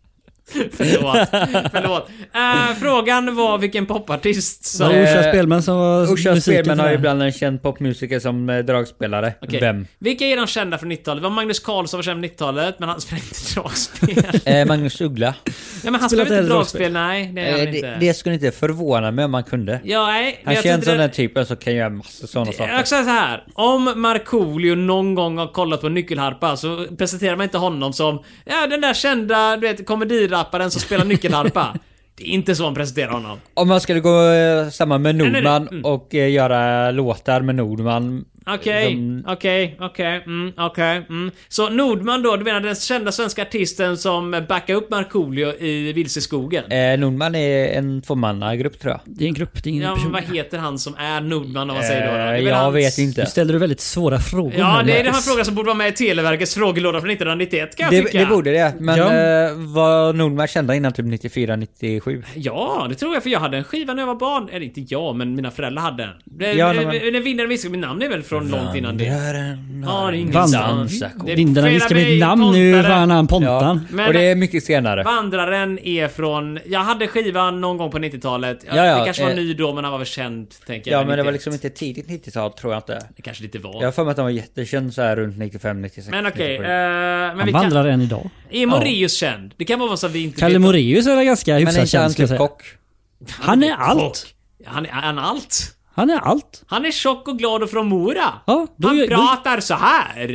Speaker 2: förlåt, förlåt. Eh, frågan var vilken popartist
Speaker 1: Det var
Speaker 2: som...
Speaker 1: Orsa
Speaker 3: Eh,
Speaker 1: Spelman som var
Speaker 3: Usha
Speaker 1: musiken
Speaker 3: Spelman
Speaker 1: för
Speaker 3: har
Speaker 1: det.
Speaker 3: ju ibland en känd popmusiker som eh, dragspelare.
Speaker 2: Okej.
Speaker 3: Vem?
Speaker 2: Vilka är de kända från 90-talet? Det var Magnus Karlsson var känd från 90-talet, men han spelar inte *laughs* dragspel.
Speaker 3: Eh,
Speaker 2: *laughs*
Speaker 3: Magnus Uggla.
Speaker 2: ja, men han
Speaker 1: Spelar inte
Speaker 2: spelar inte
Speaker 1: heller
Speaker 2: dragspel,
Speaker 1: dragspel.
Speaker 2: nej. Det
Speaker 3: Eh,
Speaker 2: gör han
Speaker 3: det,
Speaker 2: inte.
Speaker 3: det skulle inte förvåna mig om man kunde.
Speaker 2: ja, nej. men
Speaker 3: Han
Speaker 2: jag tror
Speaker 3: känns
Speaker 2: inte
Speaker 3: som
Speaker 2: det-
Speaker 3: den typen som kan göra massor sådana
Speaker 2: Jag kan
Speaker 3: saker.
Speaker 2: säga så här. Om Markoolio någon gång har kollat på nyckelharpa så presenterar man inte honom som ja, den där kända du vet, komedirapparen som spelar
Speaker 3: *laughs*
Speaker 2: nyckelharpa. det är inte så man presenterar honom.
Speaker 3: Om man skulle gå eh, samman med
Speaker 2: nej, nej.
Speaker 3: Nordman
Speaker 2: Mm.
Speaker 3: och eh, göra låtar med Nordman.
Speaker 2: Okej,
Speaker 3: De-
Speaker 2: okej, okej, mm, okej. mm. Så Nordman då, du menar den kända svenska artisten som backar upp Markoolio i Vilseskogen?
Speaker 3: Eh, Nordman är en tvåmannagrupp tror jag.
Speaker 1: Det är en grupp, det är ingen
Speaker 2: Ja, men
Speaker 1: person.
Speaker 2: vad heter han som är Nordman om man säger då? då? Det är
Speaker 3: Eh,
Speaker 2: väl
Speaker 3: jag
Speaker 2: hans-
Speaker 3: vet
Speaker 1: Nu
Speaker 3: inte.
Speaker 1: ställer du väldigt svåra frågor.
Speaker 2: Ja,
Speaker 1: nu,
Speaker 2: det är den här
Speaker 1: Magnus.
Speaker 2: frågan som borde vara med i Televerkets frågelåda från 1991 kan jag
Speaker 3: Det,
Speaker 2: tycka.
Speaker 3: det borde det. Men
Speaker 1: Ja.
Speaker 3: eh, var Nordman kända innan typ 94-97?
Speaker 2: Ja, det tror jag för jag hade en skiva när jag var barn. Eller inte jag, men mina föräldrar hade en. Det, ja,
Speaker 3: Ja, nej, men-
Speaker 2: Den vinnaren viskar mitt namn är väl från långt innan det. Ja, det är ingen
Speaker 1: Vandran.
Speaker 2: sån. Det är
Speaker 1: Vindarna
Speaker 2: Freda
Speaker 1: viskar
Speaker 2: Bey,
Speaker 1: mitt namn nu,
Speaker 2: Pontare.
Speaker 1: fan han
Speaker 3: Ja.
Speaker 1: Pontan.
Speaker 2: Men-
Speaker 3: och det är mycket senare.
Speaker 2: Vandraren är från... Jag hade skivan någon gång på 90-talet. Ja,
Speaker 3: Ja, ja,
Speaker 2: det kanske var
Speaker 3: eh,
Speaker 2: ny då, men han var väl känd, tänker jag.
Speaker 3: Ja men det var
Speaker 2: 91.
Speaker 3: liksom inte tidigt 90-tal tror jag inte.
Speaker 2: Det kanske lite var.
Speaker 3: Jag har för mig att han var jättekänd så här runt Typ 95, 96.
Speaker 2: Men okej,
Speaker 3: 97.
Speaker 2: eh, men
Speaker 1: Han
Speaker 2: vi kan...
Speaker 1: vandrar än idag.
Speaker 2: Är Moraeus känd? Det kan vara så att vi inte
Speaker 1: Kalle
Speaker 2: vet.
Speaker 1: Moraeus är väl ganska
Speaker 3: men är
Speaker 1: hyfsat
Speaker 3: inte han
Speaker 1: känd. ska jag
Speaker 3: typ
Speaker 1: säga.
Speaker 3: kock?
Speaker 1: Han är allt.
Speaker 2: Och- Han är, han är allt.
Speaker 1: Han är allt.
Speaker 2: Han är tjock och glad och från Mora.
Speaker 1: Ja, då
Speaker 2: han
Speaker 1: gör- då-
Speaker 2: pratar så här.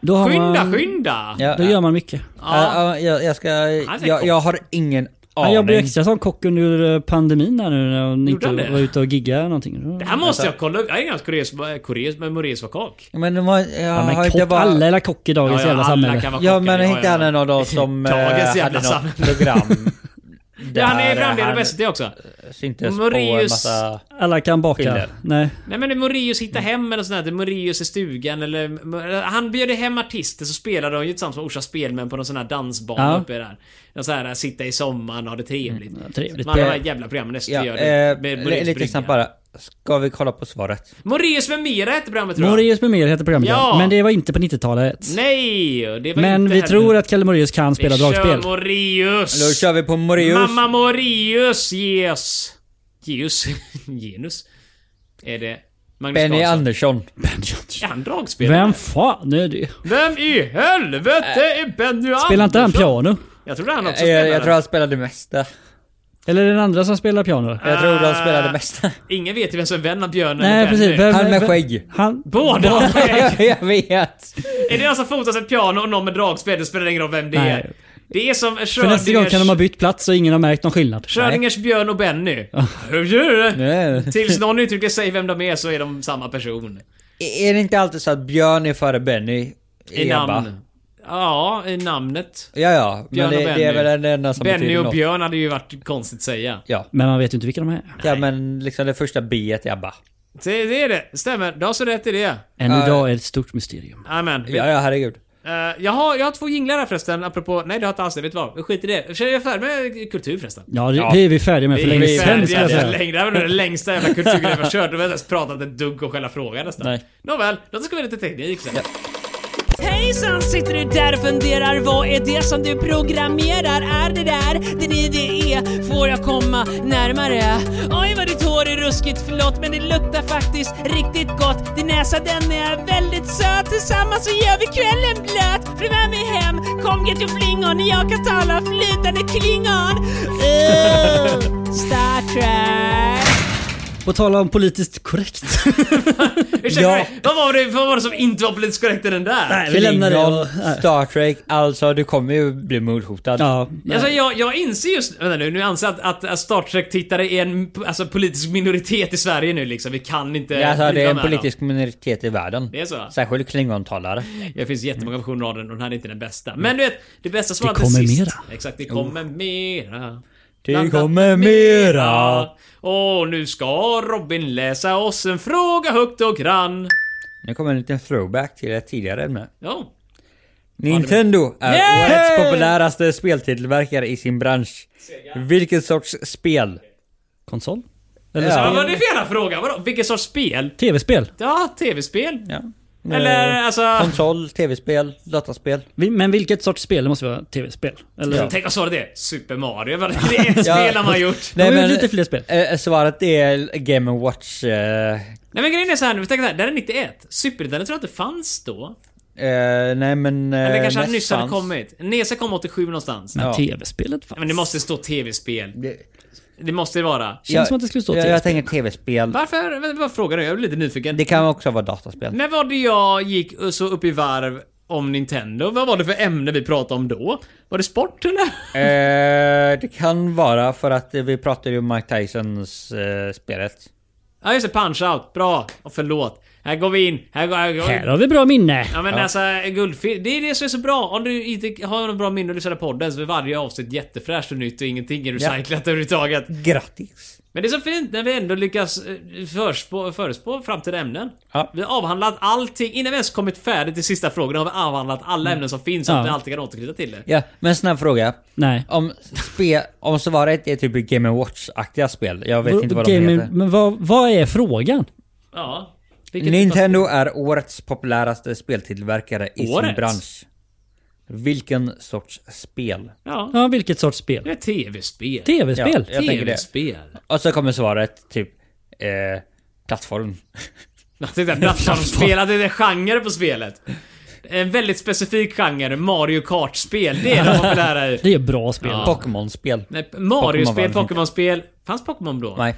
Speaker 1: Då har
Speaker 2: skynda,
Speaker 1: man-
Speaker 2: skynda!
Speaker 3: Ja,
Speaker 1: Då gör man mycket.
Speaker 3: ja, ja, jag, jag ska...
Speaker 2: Han är
Speaker 3: Jag,
Speaker 2: kock.
Speaker 3: jag har ingen
Speaker 1: Han
Speaker 3: aning.
Speaker 1: jobbade extra som kock under eh, pandemin här nu när han inte
Speaker 2: han det?
Speaker 1: var ute och giggade någonting.
Speaker 2: Det här måste jag kolla upp. Jag är ganska kuriös- kuriös med Moraeus var kock.
Speaker 3: Men det var... Jag
Speaker 1: Ja,
Speaker 3: har
Speaker 1: men
Speaker 3: inte
Speaker 1: kock,
Speaker 3: bara...
Speaker 1: alla är la kock i dagens jävla samhälle.
Speaker 2: vara
Speaker 3: Ja
Speaker 2: kockar,
Speaker 3: men
Speaker 2: det har
Speaker 3: inte
Speaker 2: jag.
Speaker 3: han en av dem *laughs* som eh,
Speaker 2: Dagens jävla
Speaker 3: hade något
Speaker 2: samhälle.
Speaker 3: *laughs* program.
Speaker 2: Ja, han är
Speaker 3: där han
Speaker 2: framledare på SVT också.
Speaker 3: Syntes på en
Speaker 2: Moraeus.
Speaker 3: massa...
Speaker 1: Alla kan baka.
Speaker 3: Skillnad.
Speaker 1: Nej.
Speaker 2: Nej men det är Moraeus hitta hem eller sånt där. det är Moraeus i stugan eller... Han bjöd hem artister så spelade de ju tillsammans med Orsa Spelmän på någon sån här dansbana
Speaker 1: Ja.
Speaker 2: uppe där. Någon sån här sitta i sommaren och ha det trevligt. Mm,
Speaker 1: trevligt.
Speaker 2: Man har de här jävla programmen SVT
Speaker 3: Ja,
Speaker 2: gör
Speaker 3: eh,
Speaker 2: det. Med
Speaker 3: li-
Speaker 2: Moraeus
Speaker 3: lite
Speaker 2: brygga.
Speaker 3: snabbt bara. Ska vi kolla på svaret?
Speaker 2: Moraeus med mera hette programmet tror jag.
Speaker 1: Moraeus med mer heter programmet
Speaker 2: Ja.
Speaker 1: Men det var inte på 90-talet.
Speaker 2: Nej! och Det var
Speaker 1: Men
Speaker 2: inte
Speaker 1: vi
Speaker 2: heller-
Speaker 1: tror att Kalle Moraeus kan spela
Speaker 2: vi
Speaker 1: dragspel.
Speaker 2: Kör Moraeus!
Speaker 3: Då kör vi på Moraeus.
Speaker 2: Mamma Moraeus ges... Geus? *laughs* Genus? Är det Magnus
Speaker 3: Benny
Speaker 2: Karlsson?
Speaker 3: Andersson.
Speaker 2: Är han dragspelare?
Speaker 1: Vem fan är det?
Speaker 2: Vem i helvete är Benny
Speaker 1: Äh, Spelar inte han
Speaker 2: Andersson?
Speaker 1: piano?
Speaker 2: Jag trodde han också
Speaker 3: Äh, Jag,
Speaker 2: spelade.
Speaker 3: jag tror han spelade det mesta.
Speaker 1: Eller den andra som spelar piano?
Speaker 3: Jag tror han spelade det *laughs* mesta.
Speaker 2: Ingen vet ju vem som är vän av Björn
Speaker 1: Nej
Speaker 2: eller Benny.
Speaker 1: precis. Vem-
Speaker 3: Han med
Speaker 1: vem-
Speaker 3: skägg.
Speaker 1: Han...
Speaker 2: Båda *laughs* har skägg.
Speaker 3: *laughs* jag vet.
Speaker 2: Är det någon som fotar sig ett piano och någon med dragspel, det spelar ingen roll vem det är.
Speaker 1: Nej.
Speaker 2: Det är som
Speaker 1: För nästa gång kan de ha
Speaker 2: Schrödingers,
Speaker 1: bytt plats och ingen har märkt någon skillnad.
Speaker 2: Schrödingers Björn och Benny. Hur gör du?
Speaker 3: Nej.
Speaker 2: Tills någon uttrycker sig vem de är så är de samma person.
Speaker 3: Är det inte alltid så att Björn är före Benny?
Speaker 2: I
Speaker 3: Ebba?
Speaker 2: namn. Ja, i namnet.
Speaker 3: Ja, ja. Men
Speaker 2: Björn och
Speaker 3: det, det är
Speaker 2: Benny.
Speaker 3: väl den enda som
Speaker 2: Benny
Speaker 3: betyder
Speaker 2: och
Speaker 3: något.
Speaker 2: Björn hade ju varit konstigt att säga.
Speaker 3: Ja.
Speaker 1: Men man vet ju inte vilka de är.
Speaker 3: ja, men liksom det första B är ABBA.
Speaker 2: Det, det är det, stämmer. Du har så rätt i det.
Speaker 1: Än idag är det ett stort mysterium.
Speaker 2: Amen.
Speaker 3: Ja, ja, herregud.
Speaker 2: Eh, jag, har, jag har två jinglar här förresten, apropå... Nej, det har jag inte alls det. Vet du vad? Skit i det. Jag är färdig med kultur förresten.
Speaker 1: Ja, det,
Speaker 3: Ja.
Speaker 1: det är vi färdiga med för
Speaker 2: Det är
Speaker 1: länge
Speaker 2: ju
Speaker 1: sedan ska jag
Speaker 2: färdiga
Speaker 1: säga.
Speaker 2: längre. Det här var nog den längsta jävla kulturgrejen jag kört. Du har inte ens pratat en dugg om själva frågan nästan.
Speaker 3: Nej.
Speaker 2: Nåväl, låt oss gå vidare till teknik sen.
Speaker 6: Hejsan, sitter du där och funderar? Vad är det som du programmerar? Är det där det ni det är? Får jag komma närmare? Oj, vad ditt hår är ruskigt flott, men det luktar faktiskt riktigt gott. Din näsa, den är väldigt söt. Tillsammans så gör vi kvällen blöt. Följ med mig hem, kom get your fling on. Jag kan tala flytande klingon. Ugh, Star Trek.
Speaker 1: På tala om politiskt korrekt.
Speaker 2: Ursäkta
Speaker 3: Ja.
Speaker 2: mig, vad var, det, vad var det som inte var politiskt korrekt i den där?
Speaker 1: Nej, vi lämnar det.
Speaker 3: Klingon,
Speaker 1: Och, nej.
Speaker 3: Star Trek, alltså du kommer ju bli mordhotad.
Speaker 1: ja, nej.
Speaker 2: Alltså jag, jag inser just, vänta nu, nu anser jag att, att, att Star Trek-tittare är en alltså, politisk minoritet i Sverige nu liksom. Vi kan inte...
Speaker 3: Ja, alltså, det
Speaker 2: driva
Speaker 3: är en
Speaker 2: med
Speaker 3: politisk minoritet i världen.
Speaker 2: Det är så?
Speaker 3: Särskilt klingontalare.
Speaker 2: dem. Det finns
Speaker 3: Mm.
Speaker 2: jättemånga versioner av den och den här är inte den bästa. Men du vet, det bästa svaret
Speaker 1: kommer
Speaker 2: till sist.
Speaker 1: mera.
Speaker 2: Exakt, det kommer mera.
Speaker 3: Det kommer mera.
Speaker 2: Och nu ska Robin läsa oss en fråga högt och grann.
Speaker 3: Nu kommer en liten throwback till ett tidigare ämne.
Speaker 2: Ja.
Speaker 3: Nintendo är
Speaker 2: Yay!
Speaker 3: årets populäraste speltillverkare i sin bransch. Vilken sorts spel?
Speaker 1: Konsol?
Speaker 3: Eller
Speaker 2: Ja,
Speaker 3: ja.
Speaker 2: vad är det för jävla fråga? Vadå? Vilken sorts spel?
Speaker 1: Tv-spel.
Speaker 2: Ja, tv-spel.
Speaker 3: Ja.
Speaker 2: Eller
Speaker 3: Eh,
Speaker 2: alltså...
Speaker 3: Konsol, tv-spel, dataspel.
Speaker 1: Vi- Men vilket sorts spel? Det måste vara tv-spel. Eller?
Speaker 2: Ja. Tänk om svaret är Super Mario. Vad är det ett spel han har gjort?
Speaker 1: De har gjort lite fler spel.
Speaker 3: eh, svaret är Game Watch. Eh,
Speaker 2: Nej men grejen är såhär nu, tänk såhär, det här är 91. Super Nintendo tror jag inte fanns då.
Speaker 3: eh, nej men... eh,
Speaker 2: Eller kanske
Speaker 3: näst
Speaker 2: hade nyss hade
Speaker 3: fanns.
Speaker 2: kommit. Nesa kom 87 någonstans.
Speaker 1: Men
Speaker 3: Ja.
Speaker 1: tv-spelet fanns.
Speaker 2: Men det måste stå tv-spel.
Speaker 3: Det-
Speaker 2: Det måste det vara.
Speaker 1: Känns som att det skulle stå
Speaker 3: jag, jag
Speaker 1: tv-spel.
Speaker 3: tänker tv-spel.
Speaker 2: Varför? vänta, Vad frågar du? Jag blir lite nyfiken.
Speaker 3: Det kan också vara dataspel.
Speaker 2: När var det jag gick så upp i varv om Nintendo? Vad var det för ämne vi pratade om då? Var det sport eller?
Speaker 3: *laughs* Eh, det kan vara för att eh, vi pratade ju om Mike Tysons eh, spelet.
Speaker 2: Ja just det, punch-out. Bra. Och förlåt. Här går vi in. Här går, här går
Speaker 1: Här har vi bra minne.
Speaker 2: Ja men alltså guldfilm, det är det som är så bra. Om du inte har någon bra minne och lyssnar på podden så är varje avsnitt jättefräscht och nytt och ingenting är recyclat överhuvudtaget.
Speaker 3: Grattis!
Speaker 2: Men det är så fint när vi ändå lyckas eh, förspå, förespå framtida ämnen.
Speaker 3: Ja.
Speaker 2: Vi har avhandlat allting, innan vi ens kommit färdigt till sista frågan har vi avhandlat alla
Speaker 3: Mm.
Speaker 2: ämnen som finns så
Speaker 1: Ja.
Speaker 2: att vi alltid kan återknyta till det.
Speaker 3: Ja, men snabb fråga.
Speaker 1: Nej.
Speaker 3: Om, spe, om svaret är typ Game Watch-aktiga spel. Jag vet inte vad de
Speaker 1: Game-
Speaker 3: heter.
Speaker 1: Men vad, vad är frågan?
Speaker 2: Ja.
Speaker 1: typ
Speaker 2: Vilket-
Speaker 3: Nintendo är årets populäraste speltillverkare i sin
Speaker 2: Årets?
Speaker 3: bransch. Vilken sorts spel?
Speaker 2: Ja.
Speaker 1: Ja, vilket sorts
Speaker 2: Det
Speaker 1: spel?
Speaker 2: är tv-spel.
Speaker 1: Tv-spel?
Speaker 3: Ja, jag tänker det.
Speaker 2: Tv-spel.
Speaker 3: Och så kommer svaret typ... Eh, plattform.
Speaker 2: Titta, plattformsspel. Att det är genre på spelet. En väldigt specifik genre, Mario Kart-spel. Det är de populära i.
Speaker 1: Det är bra spel.
Speaker 2: Ja.
Speaker 3: Pokémon-spel.
Speaker 2: Nej,
Speaker 3: Pokémon var
Speaker 2: Mario-spel,
Speaker 3: det
Speaker 2: Pokémon-spel. Fanns Pokémon då?
Speaker 3: Nej.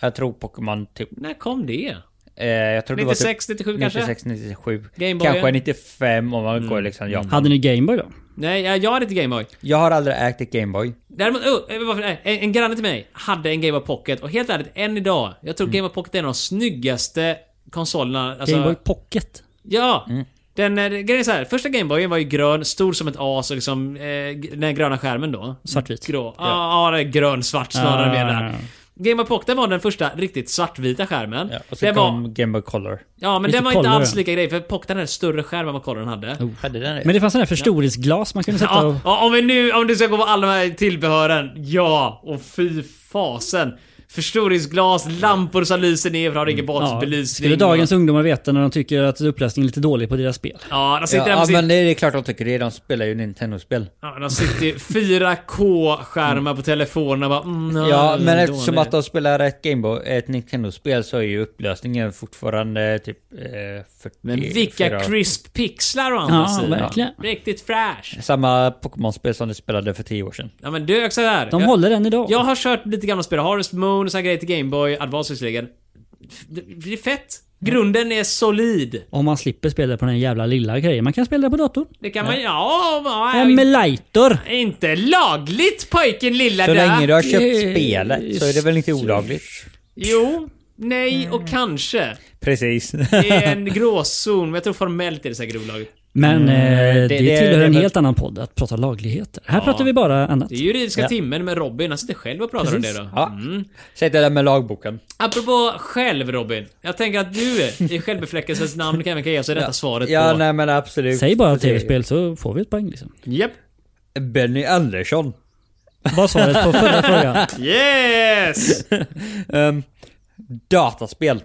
Speaker 3: Jag tror Pokémon typ...
Speaker 2: När kom det?
Speaker 3: Eh, jag tror det var
Speaker 2: 96,
Speaker 3: typ...
Speaker 2: 97 kanske?
Speaker 3: 96, 97.
Speaker 2: Game Boy.
Speaker 3: Kanske 95 om man går
Speaker 2: Mm.
Speaker 3: liksom... Ja.
Speaker 1: Hade ni Gameboy då?
Speaker 2: Nej, jag, jag hade inte Gameboy.
Speaker 3: Jag har aldrig ägt ett Gameboy.
Speaker 2: Däremot, oh, eh, varför, nej, en, en granne till mig hade en Gameboy Pocket och helt ärligt, än idag. Jag
Speaker 3: Mm.
Speaker 2: tror Gameboy Pocket är en av de snyggaste konsolerna. Alltså,
Speaker 1: Gameboy Pocket?
Speaker 2: Ja!
Speaker 3: Mm.
Speaker 2: Den, eh, grejen är så här, första Gameboyen var ju grön, stor som ett as och liksom, eh, g- den här gröna skärmen då.
Speaker 1: Svartvit.
Speaker 2: Grå. Ja, ah, det är grön-svart snarare
Speaker 1: Ja,
Speaker 2: ah,
Speaker 1: ja,
Speaker 2: menar.
Speaker 1: ja.
Speaker 2: Gameboy Pocket den var den första riktigt svartvita skärmen.
Speaker 3: Ja, och
Speaker 2: det
Speaker 3: sen
Speaker 2: var,
Speaker 3: kom Game Boy Color.
Speaker 2: ja men
Speaker 1: Lite
Speaker 2: den var inte
Speaker 1: kollare.
Speaker 2: alls lika grej för Pocket hade en större skärm än vad Colorn hade.
Speaker 3: Hade den det?
Speaker 1: Men det fanns sån här förstoringsglas man kunde sätta och...
Speaker 2: Ja, ja, om, vi nu, om du ska gå på alla de här tillbehören. Ja, och fy fasen. Förstoringsglas, lampor som lyser ner för att ha ingen
Speaker 1: Ja,
Speaker 2: bakgrundsbelysning.
Speaker 1: skulle dagens ungdomar veta när de tycker att upplösningen är lite dålig på deras spel?
Speaker 2: Ja, de sitter där
Speaker 3: Ja,
Speaker 2: med
Speaker 3: ja
Speaker 2: sin...
Speaker 3: men det är klart de tycker det. De spelar ju Nintendo-spel.
Speaker 2: Ja, de sitter ju 4K-skärmar på telefonerna bara... Mm,
Speaker 3: Ja, men
Speaker 2: dålig.
Speaker 3: eftersom att de spelar ett Gameboy, ett Nintendo-spel så är ju upplösningen fortfarande typ eh, 40...
Speaker 2: Men vilka
Speaker 3: 40.
Speaker 2: crisp pixlar å andra
Speaker 1: Ja,
Speaker 2: sidan.
Speaker 1: verkligen.
Speaker 2: Riktigt fräsch.
Speaker 3: Samma Pokémon-spel som du spelade för 10 år sedan.
Speaker 2: Ja men du, också där.
Speaker 1: De
Speaker 2: Jag-
Speaker 1: håller den idag.
Speaker 2: Jag har kört lite gamla spel, Harvest Moon och såna grejer till Gameboy, Advance visserligen. Det det är fett. Grunden är solid.
Speaker 1: Om man slipper spela på den jävla lilla grejen. Man kan spela på datorn.
Speaker 2: Det kan man ja, ja,
Speaker 1: Emulator!
Speaker 2: Inte lagligt pojken lilla
Speaker 3: Så
Speaker 2: där.
Speaker 3: länge du har köpt
Speaker 1: Eh,
Speaker 3: spelet så är det väl inte olagligt?
Speaker 2: Jo, nej och kanske.
Speaker 3: Precis.
Speaker 2: Det är
Speaker 3: *laughs*
Speaker 2: en gråzon, men jag tror formellt är det säkert olagligt.
Speaker 1: Men eh, det,
Speaker 3: Mm, det-
Speaker 1: tillhör
Speaker 3: det-
Speaker 1: en
Speaker 3: det-
Speaker 1: helt annan podd, att prata lagligheter. Här pratar vi bara annat.
Speaker 2: Det är juridiska
Speaker 3: Ja.
Speaker 2: timmen med Robin, han sitter själv och pratar
Speaker 1: Precis.
Speaker 2: om det då.
Speaker 3: Ja.
Speaker 1: Mm.
Speaker 3: Säg det där med lagboken.
Speaker 2: Apropå själv Robin. Jag tänker att du i självbefläckelsens namn kan även kan ge oss det rätta svaret
Speaker 3: Ja,
Speaker 2: på...
Speaker 3: nej men absolut.
Speaker 1: Säg bara
Speaker 3: Så det är
Speaker 1: tv-spel så får vi ett poäng liksom.
Speaker 2: Japp.
Speaker 3: Benny Andersson.
Speaker 1: Vad svaret på förra
Speaker 3: *laughs*
Speaker 1: frågan?
Speaker 2: Yes!
Speaker 3: Ehm, dataspel.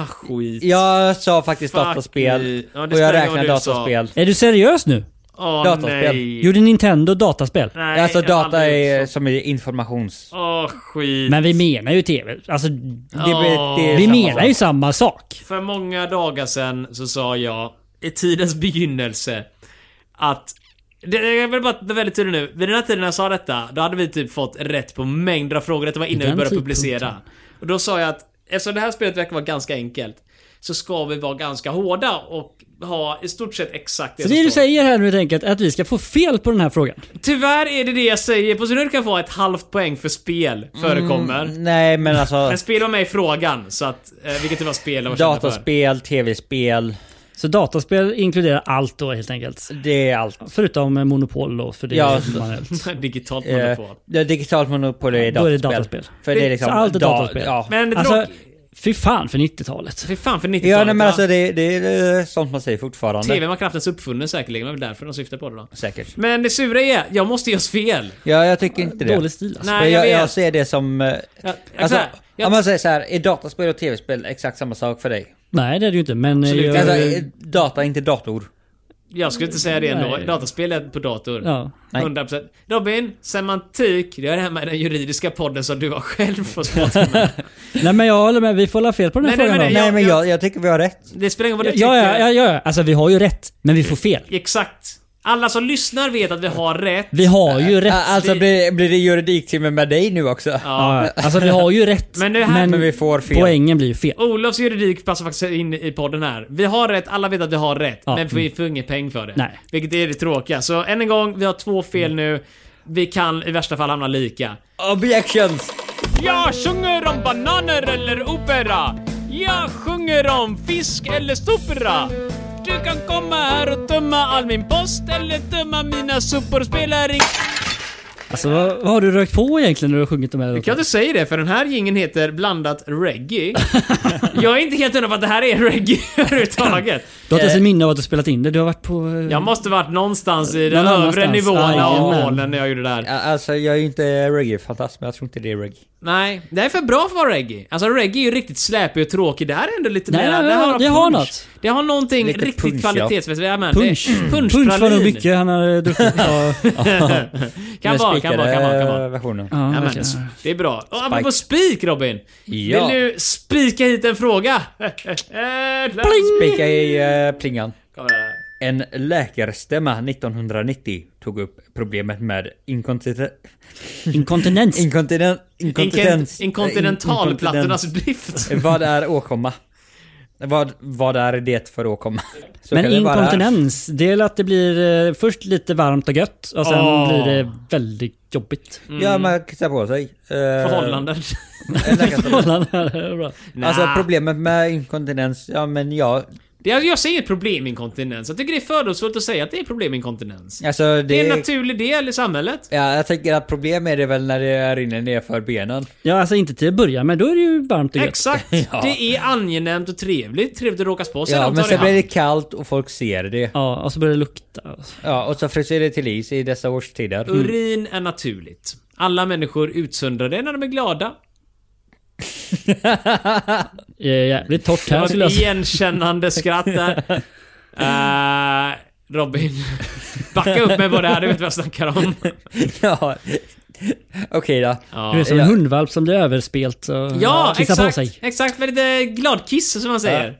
Speaker 2: Ah, skit.
Speaker 3: Jag sa faktiskt
Speaker 2: Fuck
Speaker 3: dataspel.
Speaker 2: you. Ja, det
Speaker 3: och
Speaker 2: spelar
Speaker 3: jag
Speaker 2: ingen
Speaker 3: räknar
Speaker 2: roll vad du sa.
Speaker 3: dataspel.
Speaker 1: Är du seriös nu?
Speaker 2: Åh,
Speaker 3: Dataspel.
Speaker 2: nej.
Speaker 1: Gjorde Nintendo dataspel?
Speaker 2: nej.
Speaker 3: alltså
Speaker 2: jag
Speaker 3: data
Speaker 2: hade ju
Speaker 3: är
Speaker 2: så-
Speaker 3: som är informations...
Speaker 2: Åh, skit.
Speaker 1: Men vi menar ju tv. Alltså,
Speaker 3: Det, blir- det är
Speaker 1: vi
Speaker 3: samma
Speaker 1: menar ju
Speaker 3: sak.
Speaker 1: samma sak.
Speaker 2: För många dagar sedan så sa jag, i tidens begynnelse, att... Det, jag vill bara vara väldigt tydlig nu. Vid den här tiden när jag sa detta, då hade vi typ fått rätt på mängder av frågor. Detta var innan vi
Speaker 1: den
Speaker 2: började
Speaker 1: tidpunkten.
Speaker 2: publicera. Och då sa jag att eftersom det här spelet verkar vara ganska enkelt, så ska vi vara ganska hårda och ha i stort sett exakt det
Speaker 1: Så
Speaker 2: som
Speaker 1: det du
Speaker 2: står.
Speaker 1: säger här nu helt enkelt är att vi ska få fel på den här frågan.
Speaker 2: Tyvärr är det det jag säger, på sin höjd kan få ett halvt poäng för spel
Speaker 1: Mm.
Speaker 2: förekommer.
Speaker 3: Nej
Speaker 1: *laughs*
Speaker 3: men alltså
Speaker 2: Men spel var med i frågan, så att... Eh, vilket det var spel jag var kända för.
Speaker 3: dataspel, tv-spel.
Speaker 1: Så dataspel inkluderar allt då helt enkelt.
Speaker 3: Det är allt.
Speaker 1: Förutom eh, Monopol då, för det
Speaker 3: Ja,
Speaker 1: är
Speaker 3: så-
Speaker 1: manuellt.
Speaker 2: *laughs* Digitalt
Speaker 3: Eh,
Speaker 2: monopol.
Speaker 3: det är digitalt monopol är
Speaker 1: Då är det
Speaker 3: dataspel.
Speaker 1: dataspel.
Speaker 3: För det är liksom...
Speaker 1: Så allt är
Speaker 3: da-
Speaker 1: dataspel.
Speaker 3: Ja.
Speaker 2: Men det
Speaker 1: Alltså,
Speaker 2: tråk-
Speaker 1: fy fan för 90-talet.
Speaker 2: Fy fan för 90-talet.
Speaker 3: Ja nej, men
Speaker 2: va?
Speaker 3: alltså det, det är eh, sånt man säger fortfarande.
Speaker 2: TV var knappt ens uppfunnen säkerligen, det var väl därför de syftar på det då.
Speaker 3: Säkert.
Speaker 2: Men det sura är, jag måste ge oss fel.
Speaker 3: Ja jag tycker inte det.
Speaker 1: Dålig stil alltså.
Speaker 2: Nej.
Speaker 3: jag,
Speaker 2: jag
Speaker 3: jag,
Speaker 2: vet.
Speaker 3: ser det som... eh,
Speaker 2: Jag, jag,
Speaker 3: Alltså,
Speaker 2: så här,
Speaker 3: Om
Speaker 2: jag,
Speaker 3: man säger så här, är dataspel och tv-spel exakt samma sak för dig?
Speaker 1: Nej, det är det ju inte. Men eh,
Speaker 2: Absolut.
Speaker 1: jag,
Speaker 3: Alltså, eh, data, inte dator.
Speaker 2: jag skulle inte säga det ändå.
Speaker 1: Nej.
Speaker 2: Dataspel är på dator.
Speaker 1: ja.
Speaker 3: Nej.
Speaker 2: 100%. Robin, semantik, det är det här med den juridiska podden som du har själv fått prata
Speaker 1: *laughs*
Speaker 2: med.
Speaker 1: Nej men jag håller med, vi får la fel på den här
Speaker 2: Nej, nej,
Speaker 1: frågan
Speaker 2: men
Speaker 1: då.
Speaker 2: Ja,
Speaker 3: Nej men
Speaker 2: ja.
Speaker 3: jag, jag tycker vi har rätt.
Speaker 2: Det spelar ingen roll vad du
Speaker 1: Ja,
Speaker 2: tycker.
Speaker 1: ja, ja, ja, alltså vi har ju rätt, men vi får fel.
Speaker 2: Exakt. Alla som lyssnar vet att vi har rätt.
Speaker 1: Vi har ju
Speaker 3: Ä-
Speaker 1: rätt.
Speaker 3: Alltså blir, blir det juridiktimme med dig nu också?
Speaker 1: Ja, alltså vi har ju rätt,
Speaker 2: Men det här-
Speaker 3: Men vi får fel.
Speaker 1: poängen blir ju fel.
Speaker 2: Olofs juridik passar faktiskt in i podden här. Vi har rätt, alla vet att vi har rätt.
Speaker 1: Ja. Mm.
Speaker 2: Men vi får ingen peng för det.
Speaker 1: Nej. Mm.
Speaker 2: Vilket är det tråkiga. Så än en gång, vi har två fel nu. Vi kan i värsta fall hamna lika.
Speaker 3: Objections!
Speaker 7: Jag sjunger om bananer eller opera. Jag sjunger om fisk eller sopra. Du kan komma här och tömma all min post eller tömma mina sopor. Spelar ingen
Speaker 1: Alltså vad, vad har du rökt på egentligen när du har sjungit de här
Speaker 2: Jag kan
Speaker 1: låtarna?
Speaker 2: inte säga det, för den här gingen heter blandat reggae. jag är inte helt hundra på att det här är reggae *laughs* överhuvudtaget.
Speaker 1: Du har inte ens ett minne av att du spelat in det, du har varit på... eh,
Speaker 2: Jag måste varit någonstans i den
Speaker 1: Någon
Speaker 2: övre
Speaker 1: annanstans.
Speaker 2: nivån av
Speaker 1: Jajamän.
Speaker 2: hålen när jag gjorde det här.
Speaker 3: Ja, Alltså jag är ju inte reggae-fantast men jag tror inte det är reggae.
Speaker 2: Nej, det här är för bra för att vara reggae. Alltså reggae är ju riktigt släpig och tråkig. Det här är ändå lite
Speaker 1: Nej,
Speaker 2: mera...
Speaker 1: nej,
Speaker 2: det,
Speaker 1: nej,
Speaker 2: här
Speaker 1: det har
Speaker 2: punch.
Speaker 1: något.
Speaker 2: Det har någonting
Speaker 3: Lite
Speaker 2: riktigt
Speaker 3: punch, ja.
Speaker 2: kvalitetsmässigt. Ja. men
Speaker 1: Punch!
Speaker 2: det-
Speaker 1: Punch, var nog
Speaker 2: Punschpralin. *laughs*
Speaker 1: mycket han har druckit. Ja,
Speaker 2: Kan
Speaker 3: Den
Speaker 2: vara, kan vara, kan vara, kan
Speaker 3: spikade, eh,
Speaker 2: vara.
Speaker 3: versionen.
Speaker 1: ja,
Speaker 2: Ja, men,
Speaker 1: verkligen.
Speaker 2: det är bra. Och apropå spik Robin.
Speaker 3: Ja.
Speaker 2: Vill du spika hit en fråga? *laughs*
Speaker 3: Spika i eh, plingan.
Speaker 2: Kommer här.
Speaker 3: En läkarstämma 1990 tog upp problemet med inkontinen-
Speaker 1: Inkontinens.
Speaker 3: inkontinen- inkontitens...
Speaker 2: Inkont- Inkontinentalplattornas
Speaker 3: inkontinens. *laughs*
Speaker 2: drift.
Speaker 3: Vad är åkomma? Vad, vad är det för åkomma? Så
Speaker 1: Men
Speaker 3: kan det vara.
Speaker 1: inkontinens, det är att det blir eh, först lite varmt och gött och sen
Speaker 2: Åh.
Speaker 1: blir det väldigt jobbigt.
Speaker 3: Mm. Ja, man kissar på sig. Eh,
Speaker 2: Förhållanden.
Speaker 3: Förhållanden. *laughs*
Speaker 1: *laughs* Förhållanden, bra.
Speaker 3: Alltså
Speaker 2: Nah.
Speaker 3: problemet med inkontinens, ja men ja,
Speaker 2: Det är- Jag ser inget problem med inkontinens. Jag tycker det är fördomsfullt att säga att det är problem med inkontinens.
Speaker 3: alltså det,
Speaker 2: Det är en naturlig del i samhället.
Speaker 3: Ja, jag tänker att problem är det väl när det rinner ner för benen.
Speaker 1: Ja, alltså inte till att börja med, då är det ju varmt och gött.
Speaker 3: *laughs*
Speaker 2: Exakt. Det är angenämt och trevligt. Trevligt att råkas på. Sen
Speaker 3: Ja,
Speaker 2: ja,
Speaker 3: men
Speaker 2: tar det
Speaker 3: sen
Speaker 2: hand.
Speaker 3: blir det kallt och folk ser det.
Speaker 1: Ja, och så börjar det lukta.
Speaker 3: Ja, och så fryser det till is i dessa årstider.
Speaker 2: Urin är naturligt. Alla människor utsöndrar det när de är glada.
Speaker 1: Eh, Jävligt torrt
Speaker 2: Det
Speaker 1: här skulle
Speaker 2: var
Speaker 1: jag
Speaker 2: ett
Speaker 1: säga.
Speaker 2: igenkännande skratt
Speaker 3: *laughs*
Speaker 2: där. Eh, Robin, *laughs* backa upp mig på det här. Du vet vad jag snackar om.
Speaker 3: *laughs* Ja. Okej då.
Speaker 1: Du är
Speaker 2: Ja,
Speaker 1: som
Speaker 3: Ja.
Speaker 1: en hundvalp som blir överspelt och
Speaker 2: ja
Speaker 1: kissar på sig.
Speaker 2: exakt. Exakt, med lite gladkiss som man säger.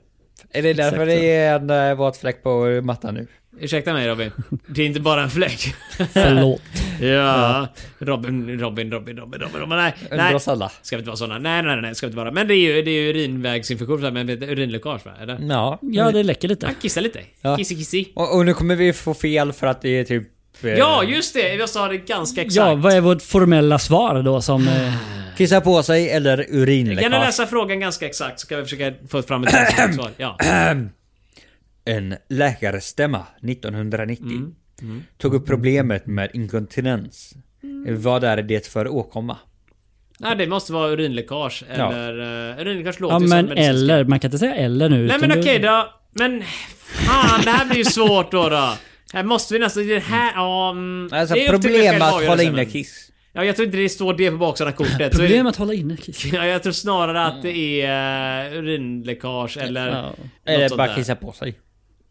Speaker 3: Är det därför
Speaker 1: Exakt,
Speaker 3: det är en äh, våt fläck på mattan nu?
Speaker 2: Ursäkta mig Robin. Det är inte bara en
Speaker 3: *laughs*
Speaker 2: fläck.
Speaker 1: Förlåt.
Speaker 2: Ja, Robin, Robin, Robin, Robin, Robin, Robin. Nej,
Speaker 3: Undrar
Speaker 2: nej.
Speaker 3: oss alla.
Speaker 2: Ska vi inte vara såna? Nej, nej, nej, ska vi inte vara. Men det är ju, det är ju urinvägsinfektion, så här, men det är urinläckage va? Eller?
Speaker 3: Ja.
Speaker 1: Ja, det läcker lite.
Speaker 2: Ah, kissa lite.
Speaker 3: Mm. Ja. Eh.
Speaker 2: Kissi, kissi.
Speaker 3: Och, och nu kommer vi få fel för att det är typ... eh,
Speaker 2: Ja, just det! Jag sa det ganska exakt.
Speaker 1: Ja, vad är vårt formella svar då som... eh,
Speaker 3: Kissa på sig eller
Speaker 2: Kan du
Speaker 3: urinläckage.
Speaker 2: läsa frågan ganska exakt så kan vi försöka få fram ett ganska svar. Ja.
Speaker 3: En läkarstämma 1990
Speaker 2: Mm,
Speaker 3: tog upp problemet med inkontinens.
Speaker 2: Mm.
Speaker 3: Vad är det för åkomma?
Speaker 2: Nej, det måste vara urinläckage
Speaker 3: Ja.
Speaker 2: eller... eh, urinläckage låter
Speaker 1: Ja,
Speaker 2: ju som
Speaker 1: men
Speaker 2: medicinska-
Speaker 1: eller. Man kan inte säga eller nu.
Speaker 2: Nej
Speaker 1: utan
Speaker 2: men
Speaker 1: du-
Speaker 2: okej då. Men fan, det här blir ju svårt då. då. Här måste vi nästan... Det här... Ja, mm,
Speaker 3: Alltså
Speaker 2: det är upp till mig själv
Speaker 3: problem
Speaker 2: att
Speaker 3: med Alltså, att
Speaker 2: avgöra
Speaker 3: hålla
Speaker 2: sen,
Speaker 3: inne
Speaker 2: men-
Speaker 3: kiss.
Speaker 2: Ja, jag tror inte det står det på baksidan av
Speaker 3: *laughs*
Speaker 2: kortet. Så-
Speaker 1: Problem att hålla inne kissen.
Speaker 2: *laughs* Ja, jag tror snarare att det är eh, urinläckage eller
Speaker 1: Ja.
Speaker 2: något
Speaker 3: Mm. Eller
Speaker 2: sånt
Speaker 3: bara
Speaker 2: där.
Speaker 3: kissa på sig.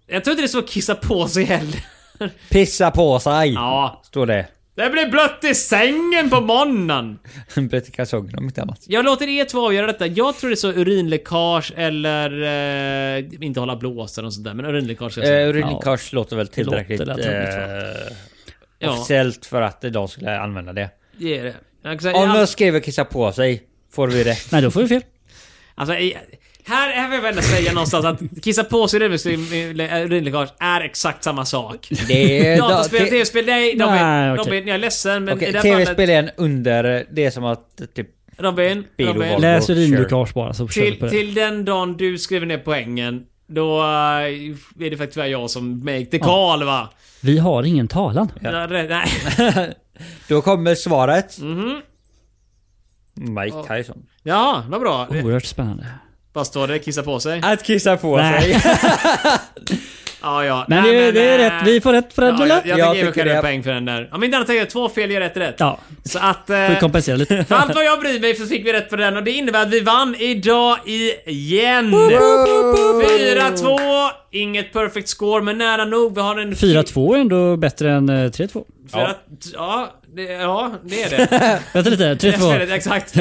Speaker 2: Jag tror inte det står kissa på sig heller. *laughs*
Speaker 3: Pissa på sig!
Speaker 2: Ja.
Speaker 3: Står det. *laughs*
Speaker 2: Det blir blött i sängen på måndagen!
Speaker 3: Bättre kalsonger om inte annat.
Speaker 2: Jag låter er två avgöra detta. Jag tror det står urinläckage eller... Eh, inte hålla blåsor och sånt där, men urinläckage ska jag säga.
Speaker 3: Eh, Urinläckage låter väl tillräckligt
Speaker 1: låter naturligt,
Speaker 3: eh,
Speaker 2: ja,
Speaker 3: officiellt för att de skulle använda det.
Speaker 2: det är det. Jag kan säga,
Speaker 3: Om
Speaker 2: all-
Speaker 3: de skriver kissa på sig får vi det.
Speaker 1: Nej, då får vi fel.
Speaker 2: Alltså, i- här, här vill jag väl ändå säga någonstans att kissa på sig urinläckage- urinläckage är exakt samma sak. *laughs*
Speaker 3: det är
Speaker 2: Dataspel,
Speaker 3: Eh, te-
Speaker 2: tv-spel, nej. Robin,
Speaker 1: Nej, okej.
Speaker 2: Robin, jag är ledsen men
Speaker 3: okej,
Speaker 2: i det här fallet...
Speaker 3: TV-spel är en under... Det är som att typ...
Speaker 2: Robin,
Speaker 3: Bil och
Speaker 2: Robin.
Speaker 3: val.
Speaker 1: Läs
Speaker 3: sure.
Speaker 1: urinläckage bara så kör vi på det.
Speaker 2: Till, till den dagen du skriver ner poängen, då eh, är det faktiskt tyvärr jag som make the call va?
Speaker 1: Vi har ingen talan.
Speaker 2: Ja, det- nej. *laughs*
Speaker 3: Då kommer svaret. Mike Tyson.
Speaker 2: Mhm. ja vad bra.
Speaker 1: Oerhört spännande.
Speaker 2: Vad står det? Kissa på sig?
Speaker 3: Att kissa på
Speaker 1: Nej.
Speaker 3: sig.
Speaker 1: *laughs*
Speaker 2: Ja, ja.
Speaker 1: Men
Speaker 2: Nej,
Speaker 1: det, det är
Speaker 2: eh,
Speaker 1: rätt. Vi får rätt för den,
Speaker 2: Ja,
Speaker 1: eller?
Speaker 2: jag, jag,
Speaker 3: Jag
Speaker 2: jag tycker
Speaker 3: tycker
Speaker 2: själv
Speaker 3: det.
Speaker 2: en poäng för den där. Om inte annat tänker jag två fel ger rätt rätt.
Speaker 1: Ja,
Speaker 2: Så att... eh,
Speaker 1: får vi kompensera
Speaker 2: *laughs*
Speaker 1: lite.
Speaker 2: för allt vad jag bryr mig så fick vi rätt på den och det innebär att vi vann idag igen! 4-2! Inget perfect score men nära nog. Vi har en...
Speaker 1: 4-2 är ändå bättre än eh, 3-2.
Speaker 2: För att, ja, det, ja, det är det.
Speaker 1: *laughs* Vänta lite,
Speaker 2: *laughs* Jag spelar-
Speaker 1: 3-2. *laughs*
Speaker 2: Exakt.
Speaker 1: Eh, ska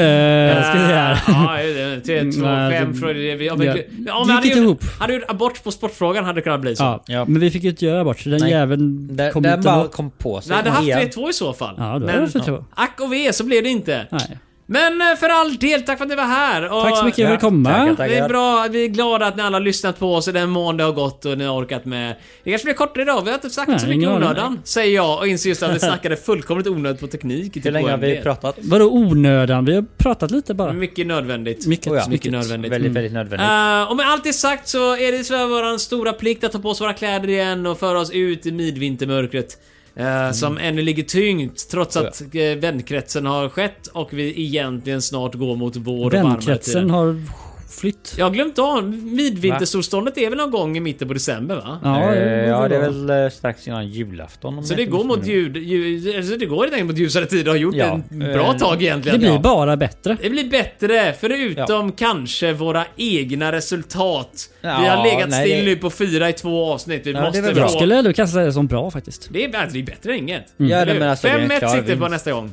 Speaker 1: vi se här.
Speaker 2: Ja, det är det. Tre, två,
Speaker 1: Mm, Nej,
Speaker 2: fem
Speaker 1: det-
Speaker 2: frågor. Det är vi- ja,
Speaker 1: ja.
Speaker 2: men- ja, om vi
Speaker 1: Gick inte
Speaker 2: hade gjort-
Speaker 1: ihop.
Speaker 2: Hade gjort abort på sportfrågan hade det kunnat bli
Speaker 1: *laughs*
Speaker 2: så.
Speaker 1: Ja,
Speaker 3: Ja.
Speaker 1: men vi fick ju inte göra bort så den
Speaker 3: Nej.
Speaker 1: jäveln
Speaker 3: Den,
Speaker 1: kom
Speaker 3: den
Speaker 1: inte
Speaker 3: bara
Speaker 1: åt.
Speaker 3: kom på sig.
Speaker 2: Vi hade haft
Speaker 3: igen.
Speaker 2: 3-2 i så fall.
Speaker 1: Ja, då hade det
Speaker 2: men
Speaker 1: varit 3-2.
Speaker 2: ack och ve så blev det inte.
Speaker 1: Nej.
Speaker 2: Men eh, för all del, tack för att ni var här. Och
Speaker 1: Tack så mycket för att
Speaker 3: Ja, tackar,
Speaker 1: komma.
Speaker 3: tackar.
Speaker 2: Det är bra, vi är glada att ni alla har lyssnat på oss i den mån det har gått och ni har orkat med. Det kanske blir kortare idag, vi har inte sagt
Speaker 1: Nej,
Speaker 2: så mycket i
Speaker 1: ingen aning.
Speaker 2: onödan. Säger jag och inser just att vi snackade fullkomligt onödigt på teknik. i
Speaker 3: Hur
Speaker 2: typ
Speaker 3: länge har vi
Speaker 2: OMD.
Speaker 3: pratat?
Speaker 1: Vadå onödan? Vi har pratat lite bara.
Speaker 2: Mycket nödvändigt.
Speaker 1: Mycket,
Speaker 3: Oh ja,
Speaker 1: mycket.
Speaker 2: mycket nödvändigt. Mm.
Speaker 3: Väldigt, väldigt nödvändigt.
Speaker 2: Eh, och med allt det sagt så är det tyvärr vår stora plikt att ta på oss våra kläder igen och föra oss ut i midvintermörkret. eh,
Speaker 3: Mm.
Speaker 2: Som ännu ligger tyngt trots
Speaker 3: Oh
Speaker 2: att eh, vändkretsen har skett och vi egentligen snart går mot vår och varmare
Speaker 1: Vänkretsen
Speaker 2: tider.
Speaker 1: har flytt.
Speaker 2: Jag har glömt av, midvintersolståndet är väl någon gång i mitten på december va?
Speaker 1: Ja,
Speaker 3: Eh,
Speaker 1: det var
Speaker 3: ja, det är
Speaker 1: bra.
Speaker 3: väl eh, strax innan julafton. om
Speaker 2: Så
Speaker 3: jag
Speaker 2: det
Speaker 3: inte
Speaker 2: går mot
Speaker 3: missminner mig.
Speaker 2: ljud, ljud, alltså det går helt enkelt mot ljusare tider och har gjort
Speaker 3: Ja.
Speaker 2: det ett bra
Speaker 3: Eh,
Speaker 2: tag egentligen.
Speaker 1: Det blir
Speaker 2: Ja.
Speaker 1: bara bättre.
Speaker 2: Det blir bättre, förutom kanske våra egna resultat. vi
Speaker 3: Ja,
Speaker 2: har legat
Speaker 3: nej,
Speaker 2: still
Speaker 3: det-
Speaker 2: nu på fyra i två avsnitt. Vi
Speaker 3: Ja, det
Speaker 2: måste
Speaker 3: är väl
Speaker 2: få-
Speaker 1: Jag skulle ändå kasta det som bra faktiskt.
Speaker 2: Det är, alltså, det är bättre än inget.
Speaker 3: Ja,
Speaker 2: Eller
Speaker 3: nej,
Speaker 2: hur?
Speaker 3: men alltså, det är en
Speaker 2: 5-1
Speaker 3: klar
Speaker 2: siktar vi på
Speaker 3: vinst.
Speaker 2: nästa gång.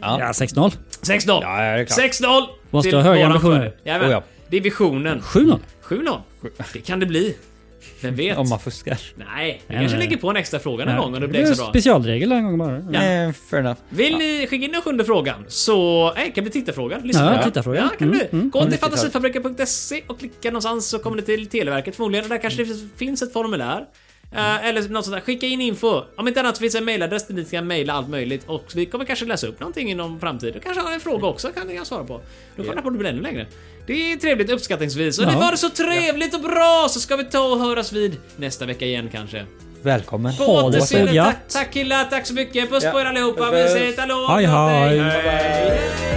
Speaker 1: Ja, 6-0.
Speaker 2: 6-0!
Speaker 3: Ja, det är klart.
Speaker 2: 6-0!
Speaker 1: Måste
Speaker 2: till
Speaker 1: ha höga
Speaker 2: våran
Speaker 1: ambitioner.
Speaker 2: fördel. Jajamän.
Speaker 3: Oh, ja.
Speaker 2: Det är visionen.
Speaker 1: 7-0.
Speaker 2: 7-0. Det kan det bli. Vem vet?
Speaker 3: Om man fuskar.
Speaker 2: Nej, vi
Speaker 1: Nej,
Speaker 2: kanske
Speaker 1: nej.
Speaker 2: lägger på en extra fråga någon gång om det
Speaker 1: är
Speaker 2: blir
Speaker 1: en
Speaker 2: så bra.
Speaker 1: specialregel en gång bara.
Speaker 2: Ja.
Speaker 3: Eh, fair enough.
Speaker 2: Vill ni skicka in den sjunde frågan så... Nej, kan bli tittarfrågan.
Speaker 1: Ja,
Speaker 2: Lyssna
Speaker 1: tittarfrågan.
Speaker 2: Ja, kan det
Speaker 1: Mm,
Speaker 2: bli.
Speaker 1: mm.
Speaker 2: Gå till fantasifabriken.se och klicka någonstans så kommer ni till Televerket förmodligen. Där kanske det finns ett formulär. Eh, eller något sånt där. Skicka in info. Om inte annat så finns en mailadress där ni kan mejla allt möjligt. Och vi kommer kanske läsa upp någonting inom framtiden. Och kanske har en fråga också kan ni svara på. Då får ni på det blir ännu längre. Det är trevligt uppskattningsvis. Och det
Speaker 1: Ja.
Speaker 2: var så trevligt och bra så ska vi ta och höras vid nästa vecka igen kanske.
Speaker 3: Välkommen.
Speaker 2: På
Speaker 1: Ha det så
Speaker 2: återseende.
Speaker 1: gött.
Speaker 2: Tack, tack killar, tack så mycket. Puss
Speaker 3: Ja.
Speaker 2: på er allihopa. Vi säger hallå.
Speaker 1: Hej,
Speaker 2: gott
Speaker 1: hej.
Speaker 2: hej.